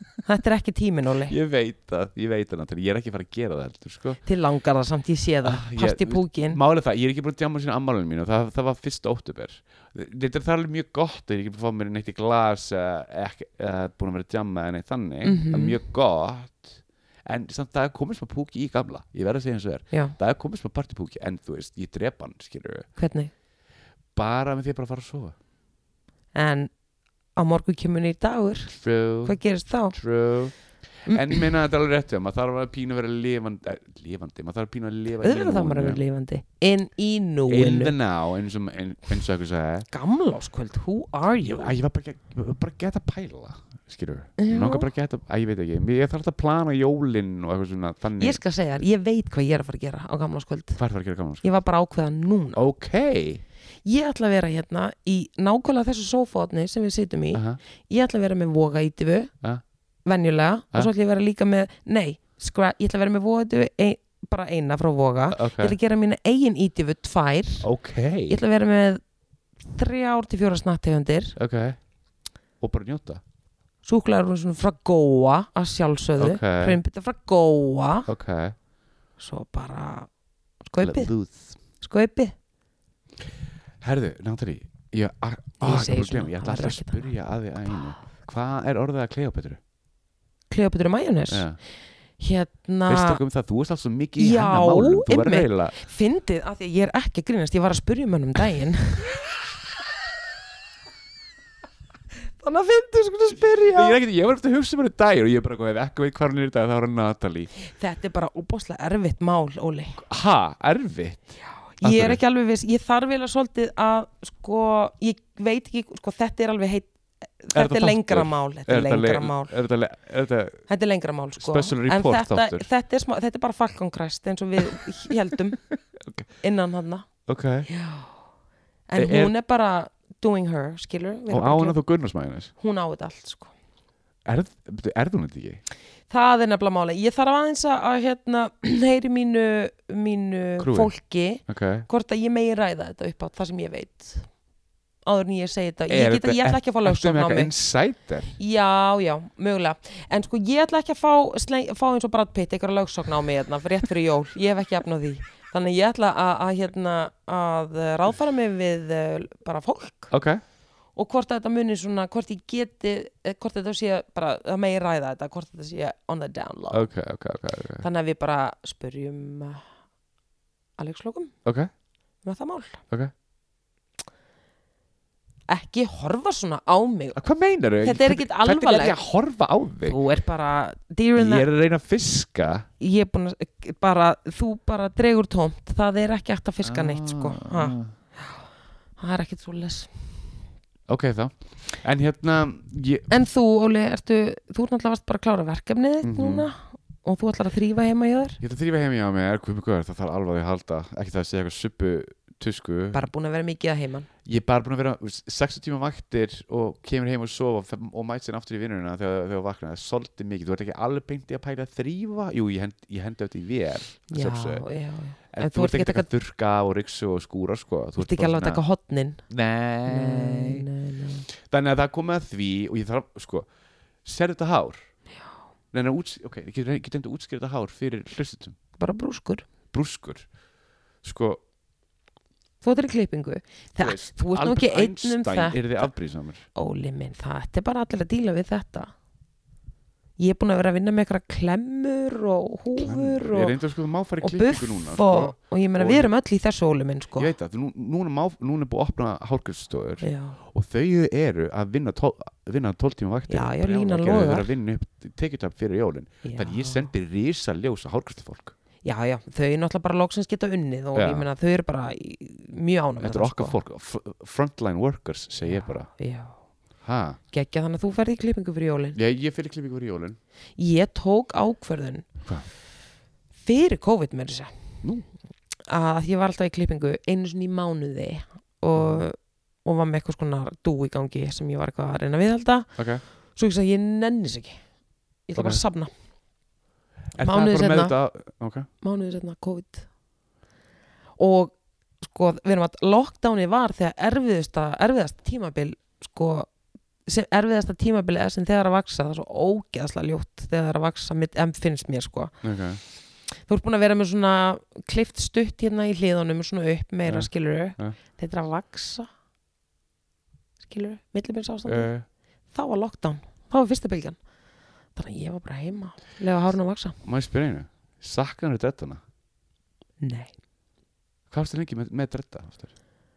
Speaker 1: Þetta er ekki tíminn, Óli.
Speaker 2: Ég veit það, ég veit það náttúrulega, ég er ekki að fara að gera það heldur, sko.
Speaker 1: Þið langar það samt, ég sé það.
Speaker 2: Ah, ég-
Speaker 1: Parti púkin.
Speaker 2: Málega það, ég er ekki búin að djáma sína ammálunum mínu, það, það var fyrst óttubér. Þetta er það er alveg mjög gott, ég er ekki búin að fá mér neitt í glas, eða ekki, eða búin að vera að djáma eða neitt þannig, það
Speaker 1: Mhm.
Speaker 2: er mjög gott, en samt það er komið smá púki í gamla, ég verð að segja eins og þér,
Speaker 1: Já,
Speaker 2: það er komið smá partipúki, en þú veist, ég drep hann, skilur
Speaker 1: hvernig?
Speaker 2: bara með því að bara fara að sofa.
Speaker 1: En á morgun kemur nýr dagur.
Speaker 2: True,
Speaker 1: Hvað gerist þá?
Speaker 2: true.
Speaker 1: Mm.
Speaker 2: En ég meina þetta er alveg réttið, maður þarf að pínu að vera lifandi, eh, lifandi, maður þarf að pínu að lifa í
Speaker 1: Öðrum það maður að
Speaker 2: núinu.
Speaker 1: vera lifandi. In í
Speaker 2: in the
Speaker 1: núinu.
Speaker 2: now eins og ein- eins og eitthvað sagði
Speaker 1: Gamláskvöld, who are
Speaker 2: ég,
Speaker 1: you?
Speaker 2: að ég var bara, ekki- ég var bara gett að pæla skilur
Speaker 1: Já.
Speaker 2: við langar bara gett að, að ég veit ekki Mér- ég þarf alltaf að plana jólin og eitthvað svona þannig
Speaker 1: Ég skal segja þér, ég veit hvað ég er að fara að gera á gamláskvöld.
Speaker 2: hvað er það að gera gaman sko?
Speaker 1: Ég var bara ákveða núna.
Speaker 2: ok
Speaker 1: Ég ætla að vera hérna í nákvæmlega þessu sófótni sem við situm í.
Speaker 2: Aha.
Speaker 1: Ég ætla að vera með voga ítifu,
Speaker 2: Ah.
Speaker 1: venjulega,
Speaker 2: Ah.
Speaker 1: og svo ætla ég að vera líka með, nei, skra, ég ætla að vera með voga ítifu, ein, bara eina frá voga.
Speaker 2: ok,
Speaker 1: Ég ætla að gera mína eigin ítifu tvær.
Speaker 2: ok,
Speaker 1: Ég ætla að vera með þrjár til fjóra snakktegundir,
Speaker 2: ok og bara njóta
Speaker 1: súklaður frá góa að sjálfsöðu,
Speaker 2: Ok.
Speaker 1: okay. frá góa,
Speaker 2: ok
Speaker 1: svo bara skaupið,
Speaker 2: Lúð.
Speaker 1: skaupið.
Speaker 2: herðu, Natalie ég, ah,
Speaker 1: Ég
Speaker 2: ah,
Speaker 1: segi
Speaker 2: ég,
Speaker 1: svona,
Speaker 2: svona,
Speaker 1: það
Speaker 2: ég ætla alltaf að
Speaker 1: verður ekkert
Speaker 2: spyrja að þið að einu
Speaker 1: Ah.
Speaker 2: hvað er orðið að kleiða betur
Speaker 1: Kleopatur majónes hérna,
Speaker 2: veist okkur um það, þú erst alltaf svo mikið í
Speaker 1: Já,
Speaker 2: hennar málum þú verður
Speaker 1: einmitt.
Speaker 2: eiginlega
Speaker 1: fyndið af því að ég er ekki að grínast ég var að spurja mönnum um daginn þannig að fyndið sko að spyrja
Speaker 2: Ég, er ekkert, ég var eftir að hugsa mér í dag og ég er bara, eitthvað, ef ekki veit hvað hann er í dag þá er hann Natalie
Speaker 1: þetta er bara óbáslega erfitt mál, Óli
Speaker 2: ha, erfitt
Speaker 1: ég er
Speaker 2: Af hverju?
Speaker 1: ekki alveg viss, ég þarf vel að svolítið að sko, ég veit ekki sko, þetta er alveg heit þetta
Speaker 2: þetta
Speaker 1: er lengra
Speaker 2: þáttur?
Speaker 1: mál, þetta er
Speaker 2: þetta
Speaker 1: lengra
Speaker 2: le-
Speaker 1: mál
Speaker 2: er þetta le- er þetta
Speaker 1: þetta er lengra mál sko
Speaker 2: Special
Speaker 1: en
Speaker 2: report
Speaker 1: þetta,
Speaker 2: þáttur.
Speaker 1: þetta, er smá, þetta er bara falkankræst eins og við heldum innan hann
Speaker 2: ok,
Speaker 1: en
Speaker 2: Er- er-
Speaker 1: hún er bara doing her, skilur Við erum
Speaker 2: E- og á
Speaker 1: bara að
Speaker 2: hann
Speaker 1: gera-
Speaker 2: að þú Gunnarsmæðinnes
Speaker 1: hún á þetta allt sko
Speaker 2: er, byrju, er þú þetta ekki?
Speaker 1: það er nefnilega máli, ég þarf aðeins að að, hérna, heyri mínu, mínu
Speaker 2: Krúi.
Speaker 1: fólki,
Speaker 2: ok,
Speaker 1: hvort að ég megi ræða þetta upp á það sem ég veit áður en ég segi þetta,
Speaker 2: Er
Speaker 1: ég, geta,
Speaker 2: þetta-
Speaker 1: ég ætla ekki að fá
Speaker 2: ertu
Speaker 1: lögstofn
Speaker 2: með
Speaker 1: á
Speaker 2: eitthvað
Speaker 1: mig
Speaker 2: insider?
Speaker 1: já, já, mögulega, en sko ég ætla ekki að fá, sleng, fá eins og Brad Pitt einhverja lögstofn á mig hérna, fyrir rétt fyrir jól ég hef ekki efni á því, þannig að ég ætla að, að, hérna, að eh, ráðfæra mig við eh, bara fólk
Speaker 2: ok,
Speaker 1: og hvort að þetta muni svona, hvort ég geti eh, hvort þetta sé bara, það megi ræða þetta hvort þetta sé on the down low
Speaker 2: ok, ok, ok, ok,
Speaker 1: þannig að við bara spurjum eh, Alex Lókum
Speaker 2: ok
Speaker 1: með það mál
Speaker 2: Ok.
Speaker 1: ekki horfa svona á mig
Speaker 2: Að hvað meinar þau?
Speaker 1: Þetta er ekkit
Speaker 2: hvernig er
Speaker 1: alvarlegt.
Speaker 2: ég að horfa á þig?
Speaker 1: þú er bara dear in
Speaker 2: ég
Speaker 1: the
Speaker 2: er að reyna að fiska
Speaker 1: ég er búin að bara, þú bara dregur tómt það er ekki hægt að fiska neitt sko ha,
Speaker 2: Ah.
Speaker 1: það er ekki trúles
Speaker 2: ok þá, en hérna ég,
Speaker 1: en þú Óli, ertu, þú er náttúrulega varst bara að klára verkefnið þitt
Speaker 2: Mhm.
Speaker 1: núna og þú ætlar að þrýfa heima hjá þér
Speaker 2: ég ætla að þrýfa heim í á mig er hvað mjög góður, það þarf alveg að halda ekki það að segja eitthvað suppu tusku
Speaker 1: bara búin að vera mikið að heiman
Speaker 2: Ég er bara búin að vera þú veist, 60 tíma vaktir og kemur heim og sofa og fer- og mætt sér aftur í vinnununa þegar þegar þú vaknar það er svolítið mikið, þú ert ekki alveg beint í að pæla að þrýfa Jú, ég, hend, ég hendi eftir í vér að
Speaker 1: já, já,
Speaker 2: sjálfsögðu.
Speaker 1: já.
Speaker 2: En þú ert ekki að taka þurrka og ryksu og skúra sko.
Speaker 1: þú ert ekki alveg að taka hotnin
Speaker 2: Nei.
Speaker 1: nei, nei.
Speaker 2: Þannig að það komið að því og ég þarf, sko, serðu þetta hár Nei, nei, úts, ok, ég get get reyndi að útskýra þetta hár fyrir hlustutum,
Speaker 1: bara brúskur
Speaker 2: brúskur Sko,
Speaker 1: þú ætlar í klippingu
Speaker 2: þú
Speaker 1: það,
Speaker 2: veist,
Speaker 1: þú ert nú
Speaker 2: Albert
Speaker 1: ekki einn um
Speaker 2: Einstein
Speaker 1: það
Speaker 2: er þið afbrýðsamur
Speaker 1: Óli minn, það er bara allir að díla við þetta ég er búin að vera að vinna með eitthvað klemmur og húfur
Speaker 2: Ég
Speaker 1: og,
Speaker 2: reyndi að sko, þú má fara í
Speaker 1: og
Speaker 2: klippingu
Speaker 1: buff
Speaker 2: núna
Speaker 1: og,
Speaker 2: sko.
Speaker 1: og ég meina
Speaker 2: Og
Speaker 1: við
Speaker 2: ég-
Speaker 1: erum öll í þessu Óli minn sko.
Speaker 2: Ég veit það, nú, núna, má, núna er búið að opna hárgjöfstofur
Speaker 1: já,
Speaker 2: og þau eru að vinna, tól, vinna 12 tíma vaktir
Speaker 1: Já, já,
Speaker 2: Brjálæði
Speaker 1: línan
Speaker 2: gerðu, Þau
Speaker 1: logar.
Speaker 2: eru að vinna upp tekjutab fyrir jólin
Speaker 1: já.
Speaker 2: Þannig ég sendi risa ljós að hárgjöfstofólk
Speaker 1: já, já, þau er náttúrulega bara loksins geta unnið og
Speaker 2: Já.
Speaker 1: ég meina þau eru bara í, mjög ánum
Speaker 2: Þetta er okkar fólk, f- frontline workers segi ég bara
Speaker 1: sko. já,
Speaker 2: ha.
Speaker 1: geggja þannig að þú ferði í klippingu fyrir jólin
Speaker 2: Ég, ég fyrir klippingu fyrir jólin
Speaker 1: ég tók ákverðun
Speaker 2: Hvað?
Speaker 1: fyrir COVID með þess
Speaker 2: Nú.
Speaker 1: að ég var alltaf í klippingu einu sinni í mánuði og, og var með eitthvað skona dú í gangi sem ég var eitthvað að reyna að viðhalda
Speaker 2: okay.
Speaker 1: svo ég sagði ég nennis ekki ég ætla
Speaker 2: Ok.
Speaker 1: bara að safna
Speaker 2: Er það
Speaker 1: Mánuði
Speaker 2: bara með
Speaker 1: seinna.
Speaker 2: þetta- ok.
Speaker 1: mánuði setna COVID og sko við erum að lockdowni var þegar erfiðasta, erfiðasta tímabil sko sem erfiðasta tímabilið sem þegar að vaksa, það er svo ógeðslega ljótt þegar að vaksa, mitt, em, finnst mér sko
Speaker 2: ok,
Speaker 1: þú ert búin að vera með svona klift stutt hérna í hliðunum svona upp meira
Speaker 2: Ja.
Speaker 1: ja. skiluru
Speaker 2: Ja.
Speaker 1: þetta er að vaksa skiluru, millibins ástandi
Speaker 2: uh,
Speaker 1: þá var lockdown, þá var fyrsta bylgjan þannig að ég var bara heima lega hárun að vaksa
Speaker 2: má ég spyrja einu sakkan eru dreddana
Speaker 1: nei,
Speaker 2: hvað varstu lengi með, með dredda aftur?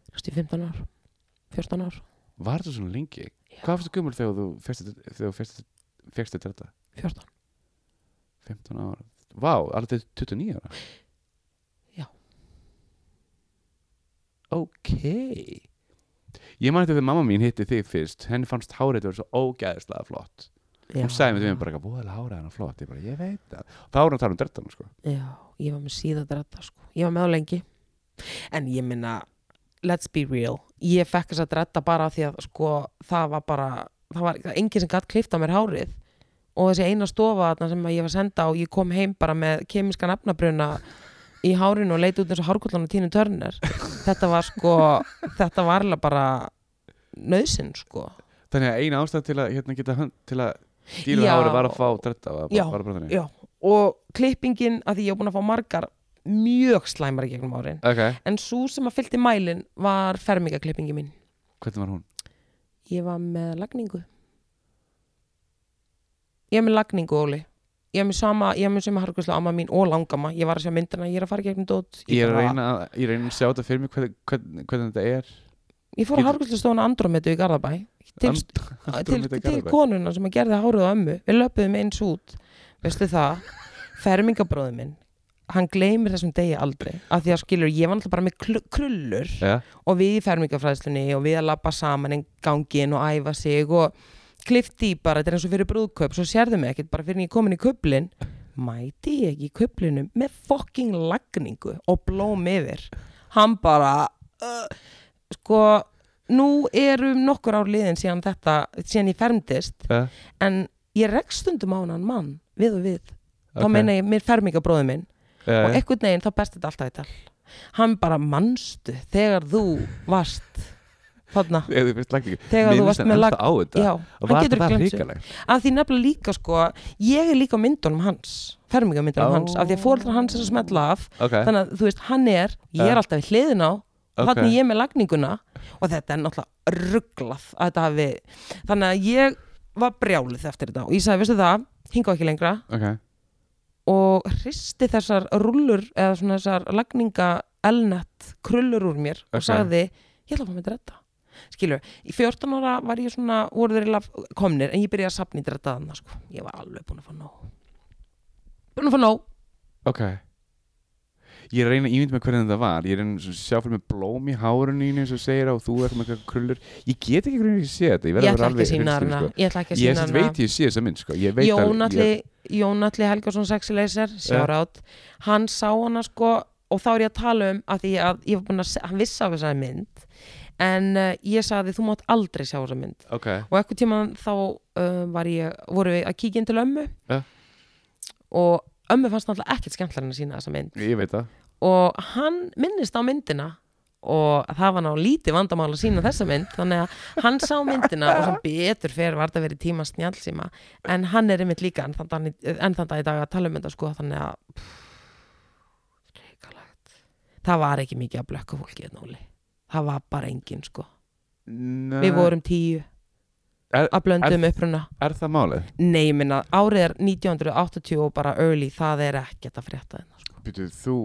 Speaker 1: þú veist ég 15 ár 14 ár,
Speaker 2: var þetta svona lengi
Speaker 1: Já.
Speaker 2: hvað varstu gömul þegar þú fyrst þegar þú fyrst fyrst dredda
Speaker 1: 14
Speaker 2: 15 ára vá, alveg til 29 ára
Speaker 1: Já.
Speaker 2: ok ég man þetta þegar mamma mín hitti þig fyrst henni fannst hárið vera svo ógæðislega flott hún sagði mér til mér bara eitthvað búðalega hárið hann flott ég bara, ég veit það þá er hann að tala um drettan sko.
Speaker 1: já, ég var með síðadrætta sko ég var með á lengi en ég minna, let's be real ég fekk þess að drætta bara af því að sko, það var bara, það var engin sem gætt klift á mér hárið og þessi eina stofa þarna sem að ég var senda á ég kom heim bara með kemiska nafnabruna í hárinu og leiti út eins og hárkullan og tínu törnir þetta var sko, þetta var alveg bara nöðsinn sko
Speaker 2: þannig að eina ástæð til að hérna, geta hönd, til að dýra
Speaker 1: Já.
Speaker 2: hárið var að fá dretta var,
Speaker 1: Já.
Speaker 2: var bara þannig
Speaker 1: já, og klippingin að því ég var búin að fá margar mjög slæmar í gegnum árin
Speaker 2: ok,
Speaker 1: En svo sem að fylgdi mælin var fermingaklippingi mín.
Speaker 2: hvernig var hún?
Speaker 1: Ég var með lagningu. Ég er með lagningu, Óli. Ég er með sama, ég er með sama harkusla amma mín og langama. Ég var að sjá myndina, ég er að fara í gegnum dót.
Speaker 2: ég er að
Speaker 1: bara-
Speaker 2: reyna að, ég reyna að sjá þetta fyrir mig hvernig, hvernig, hvernig þetta er
Speaker 1: Ég fór að
Speaker 2: Getur-
Speaker 1: harkusla stóðan Andromedu í Garðabæ. Til,
Speaker 2: And-
Speaker 1: til,
Speaker 2: Andrómeda í
Speaker 1: til
Speaker 2: Garðabæ.
Speaker 1: konuna sem að gerði hárið á ömmu. Við löpuðum eins út. Veistu það? Fermingabróðu minn. Hann gleymir þessum degi aldrei. Af því að skilur, ég var alltaf bara með kl- krullur.
Speaker 2: Já.
Speaker 1: og við í fermingafræðslunni og við að lappa saman en gangin og æfa sig og klifti í bara, þetta er eins og fyrir brúðkaup svo sérðu mig ekkert, bara fyrir en ég er komin í kuplin mæti ég í kuplinum með fucking lagningu og blóm yfir hann bara uh, sko nú erum nokkur ár liðin síðan þetta síðan ég fermdist
Speaker 2: Ja,
Speaker 1: en ég rekst stundum á hann mann við og við,
Speaker 2: ok.
Speaker 1: þá meina ég mér fermingabróðum minn
Speaker 2: Ja,
Speaker 1: og
Speaker 2: ja.
Speaker 1: einhvern veginn þá berst þetta alltaf í tal hann bara mannstu þegar þú varst þarna,
Speaker 2: Ef þú fyrst lagningu
Speaker 1: Þegar þú
Speaker 2: Minnist
Speaker 1: varst
Speaker 2: hann
Speaker 1: með
Speaker 2: ennþá
Speaker 1: lag-
Speaker 2: á þetta
Speaker 1: já,
Speaker 2: Og
Speaker 1: hann
Speaker 2: var
Speaker 1: getur
Speaker 2: það
Speaker 1: ekki glemt sig.
Speaker 2: hrikalegt
Speaker 1: af því nefnilega líka sko ég er líka á myndunum hans fermingamyndunum
Speaker 2: Ó.
Speaker 1: hans, af því að fóreldrar hans er að smetla af
Speaker 2: ok,
Speaker 1: þannig að þú veist, hann er, ég
Speaker 2: Ja.
Speaker 1: er alltaf í hliðin á og
Speaker 2: Ok.
Speaker 1: þannig ég er með lagninguna og þetta er náttúrulega rugglað að þetta hafi, þannig að ég var brjálið eftir þetta og ég sagði, veistu það hinga ekki lengra
Speaker 2: ok,
Speaker 1: og hristi þessar rullur eða svona þessar lagninga elnett krullur úr mér
Speaker 2: Ok.
Speaker 1: og sagði ég ætla að fá mig dretta skilur, í 14 ára var ég svona voru þeir eiginlega komnir en ég byrjaði að sapna í dretta þannig sko. ég var alveg búin að fá nóg búin að fá nóg
Speaker 2: ok Ég er að reyna að ímynda með hvernig þetta var Ég er að reyna að sjá fyrir með blóm í hárunni eins og þú segir og þú ert með eitthvað krullur Ég get ekki hvernig ég sé þetta Ég
Speaker 1: ég,
Speaker 2: verð að
Speaker 1: ætla ekki
Speaker 2: vera alveg
Speaker 1: að sína
Speaker 2: hrein,
Speaker 1: hana
Speaker 2: sko.
Speaker 1: ég ætla ekki að
Speaker 2: Ég
Speaker 1: sína
Speaker 2: sem
Speaker 1: hana
Speaker 2: veit ég sé þessa mynd sko. Ég veit alveg-
Speaker 1: Jónalli Jónalli Helgason sexileiser sjárátt, hann sá hana sko og þá er ég að tala um að því að ég var búin að, se- hann vissi af þessari mynd en uh, ég sagði þú mátt aldrei sjá þessa mynd
Speaker 2: ég- Ok,
Speaker 1: og eitthvað tíman þá uh, var ég, voru við að kíkja inn til ömmu
Speaker 2: Ja.
Speaker 1: og ömmu fannst náttúrulega ekkert skemmtlar en að sína þessa mynd
Speaker 2: ég veit það
Speaker 1: og hann minnist á myndina og það var ná lítið vandamál að sína þessa mynd þannig að hann sá myndina og sem betur fer var þetta verið tíma snjálsíma en hann er einmitt líka enn þann dag, enn þann dag í dag að tala um þetta sko þannig að pff, hrikalegt. það var ekki mikið að blökka fólki hérna, Óli. það var bara engin sko
Speaker 2: Nei.
Speaker 1: við vorum tíu
Speaker 2: Er-
Speaker 1: að blöndum uppruna
Speaker 2: Er það málið?
Speaker 1: Nei, ég minna, árið er 1980 og bara early, það er ekkert að frétta þeim. Sko.
Speaker 2: Býtu, þú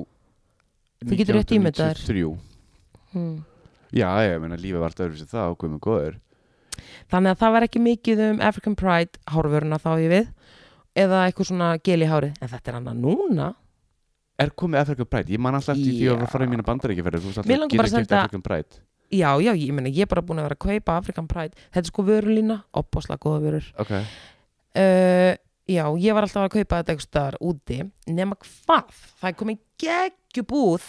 Speaker 1: Þú getur rétt ímyndað þér.
Speaker 2: 1993.
Speaker 1: Hmm.
Speaker 2: Já, ég meina lífið var alltaf öðruvísi þá Guð með góður
Speaker 1: Þannig að það var ekki mikið um African Pride hárvöruna þá ég við eða eitthvað svona gel í hárið. En þetta er annað núna.
Speaker 2: Er komið African Pride? Ég man alltaf eftir því að
Speaker 1: Já.
Speaker 2: var að fara í mína bandaríkjaferðir Þú veist
Speaker 1: Mér
Speaker 2: alltaf
Speaker 1: langar bara að
Speaker 2: getur kæft
Speaker 1: senda-
Speaker 2: African Pride
Speaker 1: Já, já, ég minna, ég er bara búin að vera að kaupa African Pride. Þetta er sko vörulína, opbosla góða vörur.
Speaker 2: Ok,
Speaker 1: Uh, já, ég var alltaf að kaupa þetta eitthvað staðar úti. Nema hvað? Það er komið geggjubúð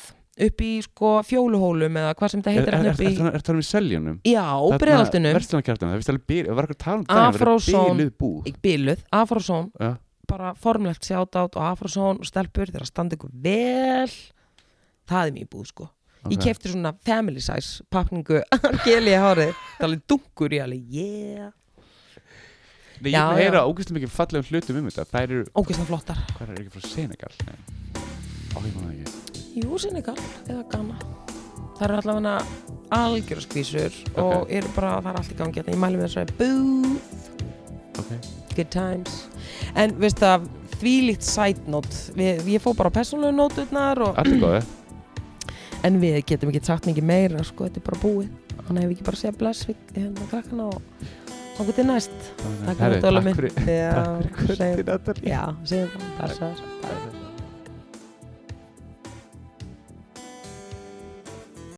Speaker 1: upp í sko fjóluhólum eða hvað sem þetta
Speaker 2: er
Speaker 1: heitir
Speaker 2: það
Speaker 1: hann upp í...
Speaker 2: er, er, er, með seljanum?
Speaker 1: Já, bregðaltunum.
Speaker 2: Verslunarkjartanum, það finnst alveg byrð Það var eitthvað talum daginn, það var
Speaker 1: Afrozone.
Speaker 2: byrðið búð
Speaker 1: í bíluð, Afrosón
Speaker 2: Já.
Speaker 1: bara formlegt sjátátt og Afrosón og stelpur þeirra standa ykkur vel það er mjög búð sko ég
Speaker 2: Ok.
Speaker 1: kefti svona family size pakningu geli í hárið, það er alveg dunkur ég alveg yeah
Speaker 2: Nei, ég
Speaker 1: Já,
Speaker 2: er búin að
Speaker 1: já.
Speaker 2: heyra ógæslega mikið fallegum hlutum um þetta Þær eru,
Speaker 1: ógeðslega flottar
Speaker 2: hvað er ekki frá Senegal? Nei, á ég maður ekki
Speaker 1: Jú, Senegal eða Ghana Það eru allavega algjör skvísur og eru bara, það er allt í gangi hérna. ég mæli með þessari boo
Speaker 2: Ok,
Speaker 1: good times en veist það, þvílíkt side note við, ég fó bara á persónlegu nóturnar og,
Speaker 2: allir góði
Speaker 1: en við getum ekki sagt mikið meira sko, þetta er bara búið þannig að við ekki bara segja bless við hérna krakkana og okkur til næst
Speaker 2: Takk
Speaker 1: Takk fyrir Dóla minn
Speaker 2: fyrir-
Speaker 1: Já,
Speaker 2: Takk fyrir
Speaker 1: segjum-
Speaker 2: kvöldin, Natalie
Speaker 1: Já, segjum það, blessaður Bye.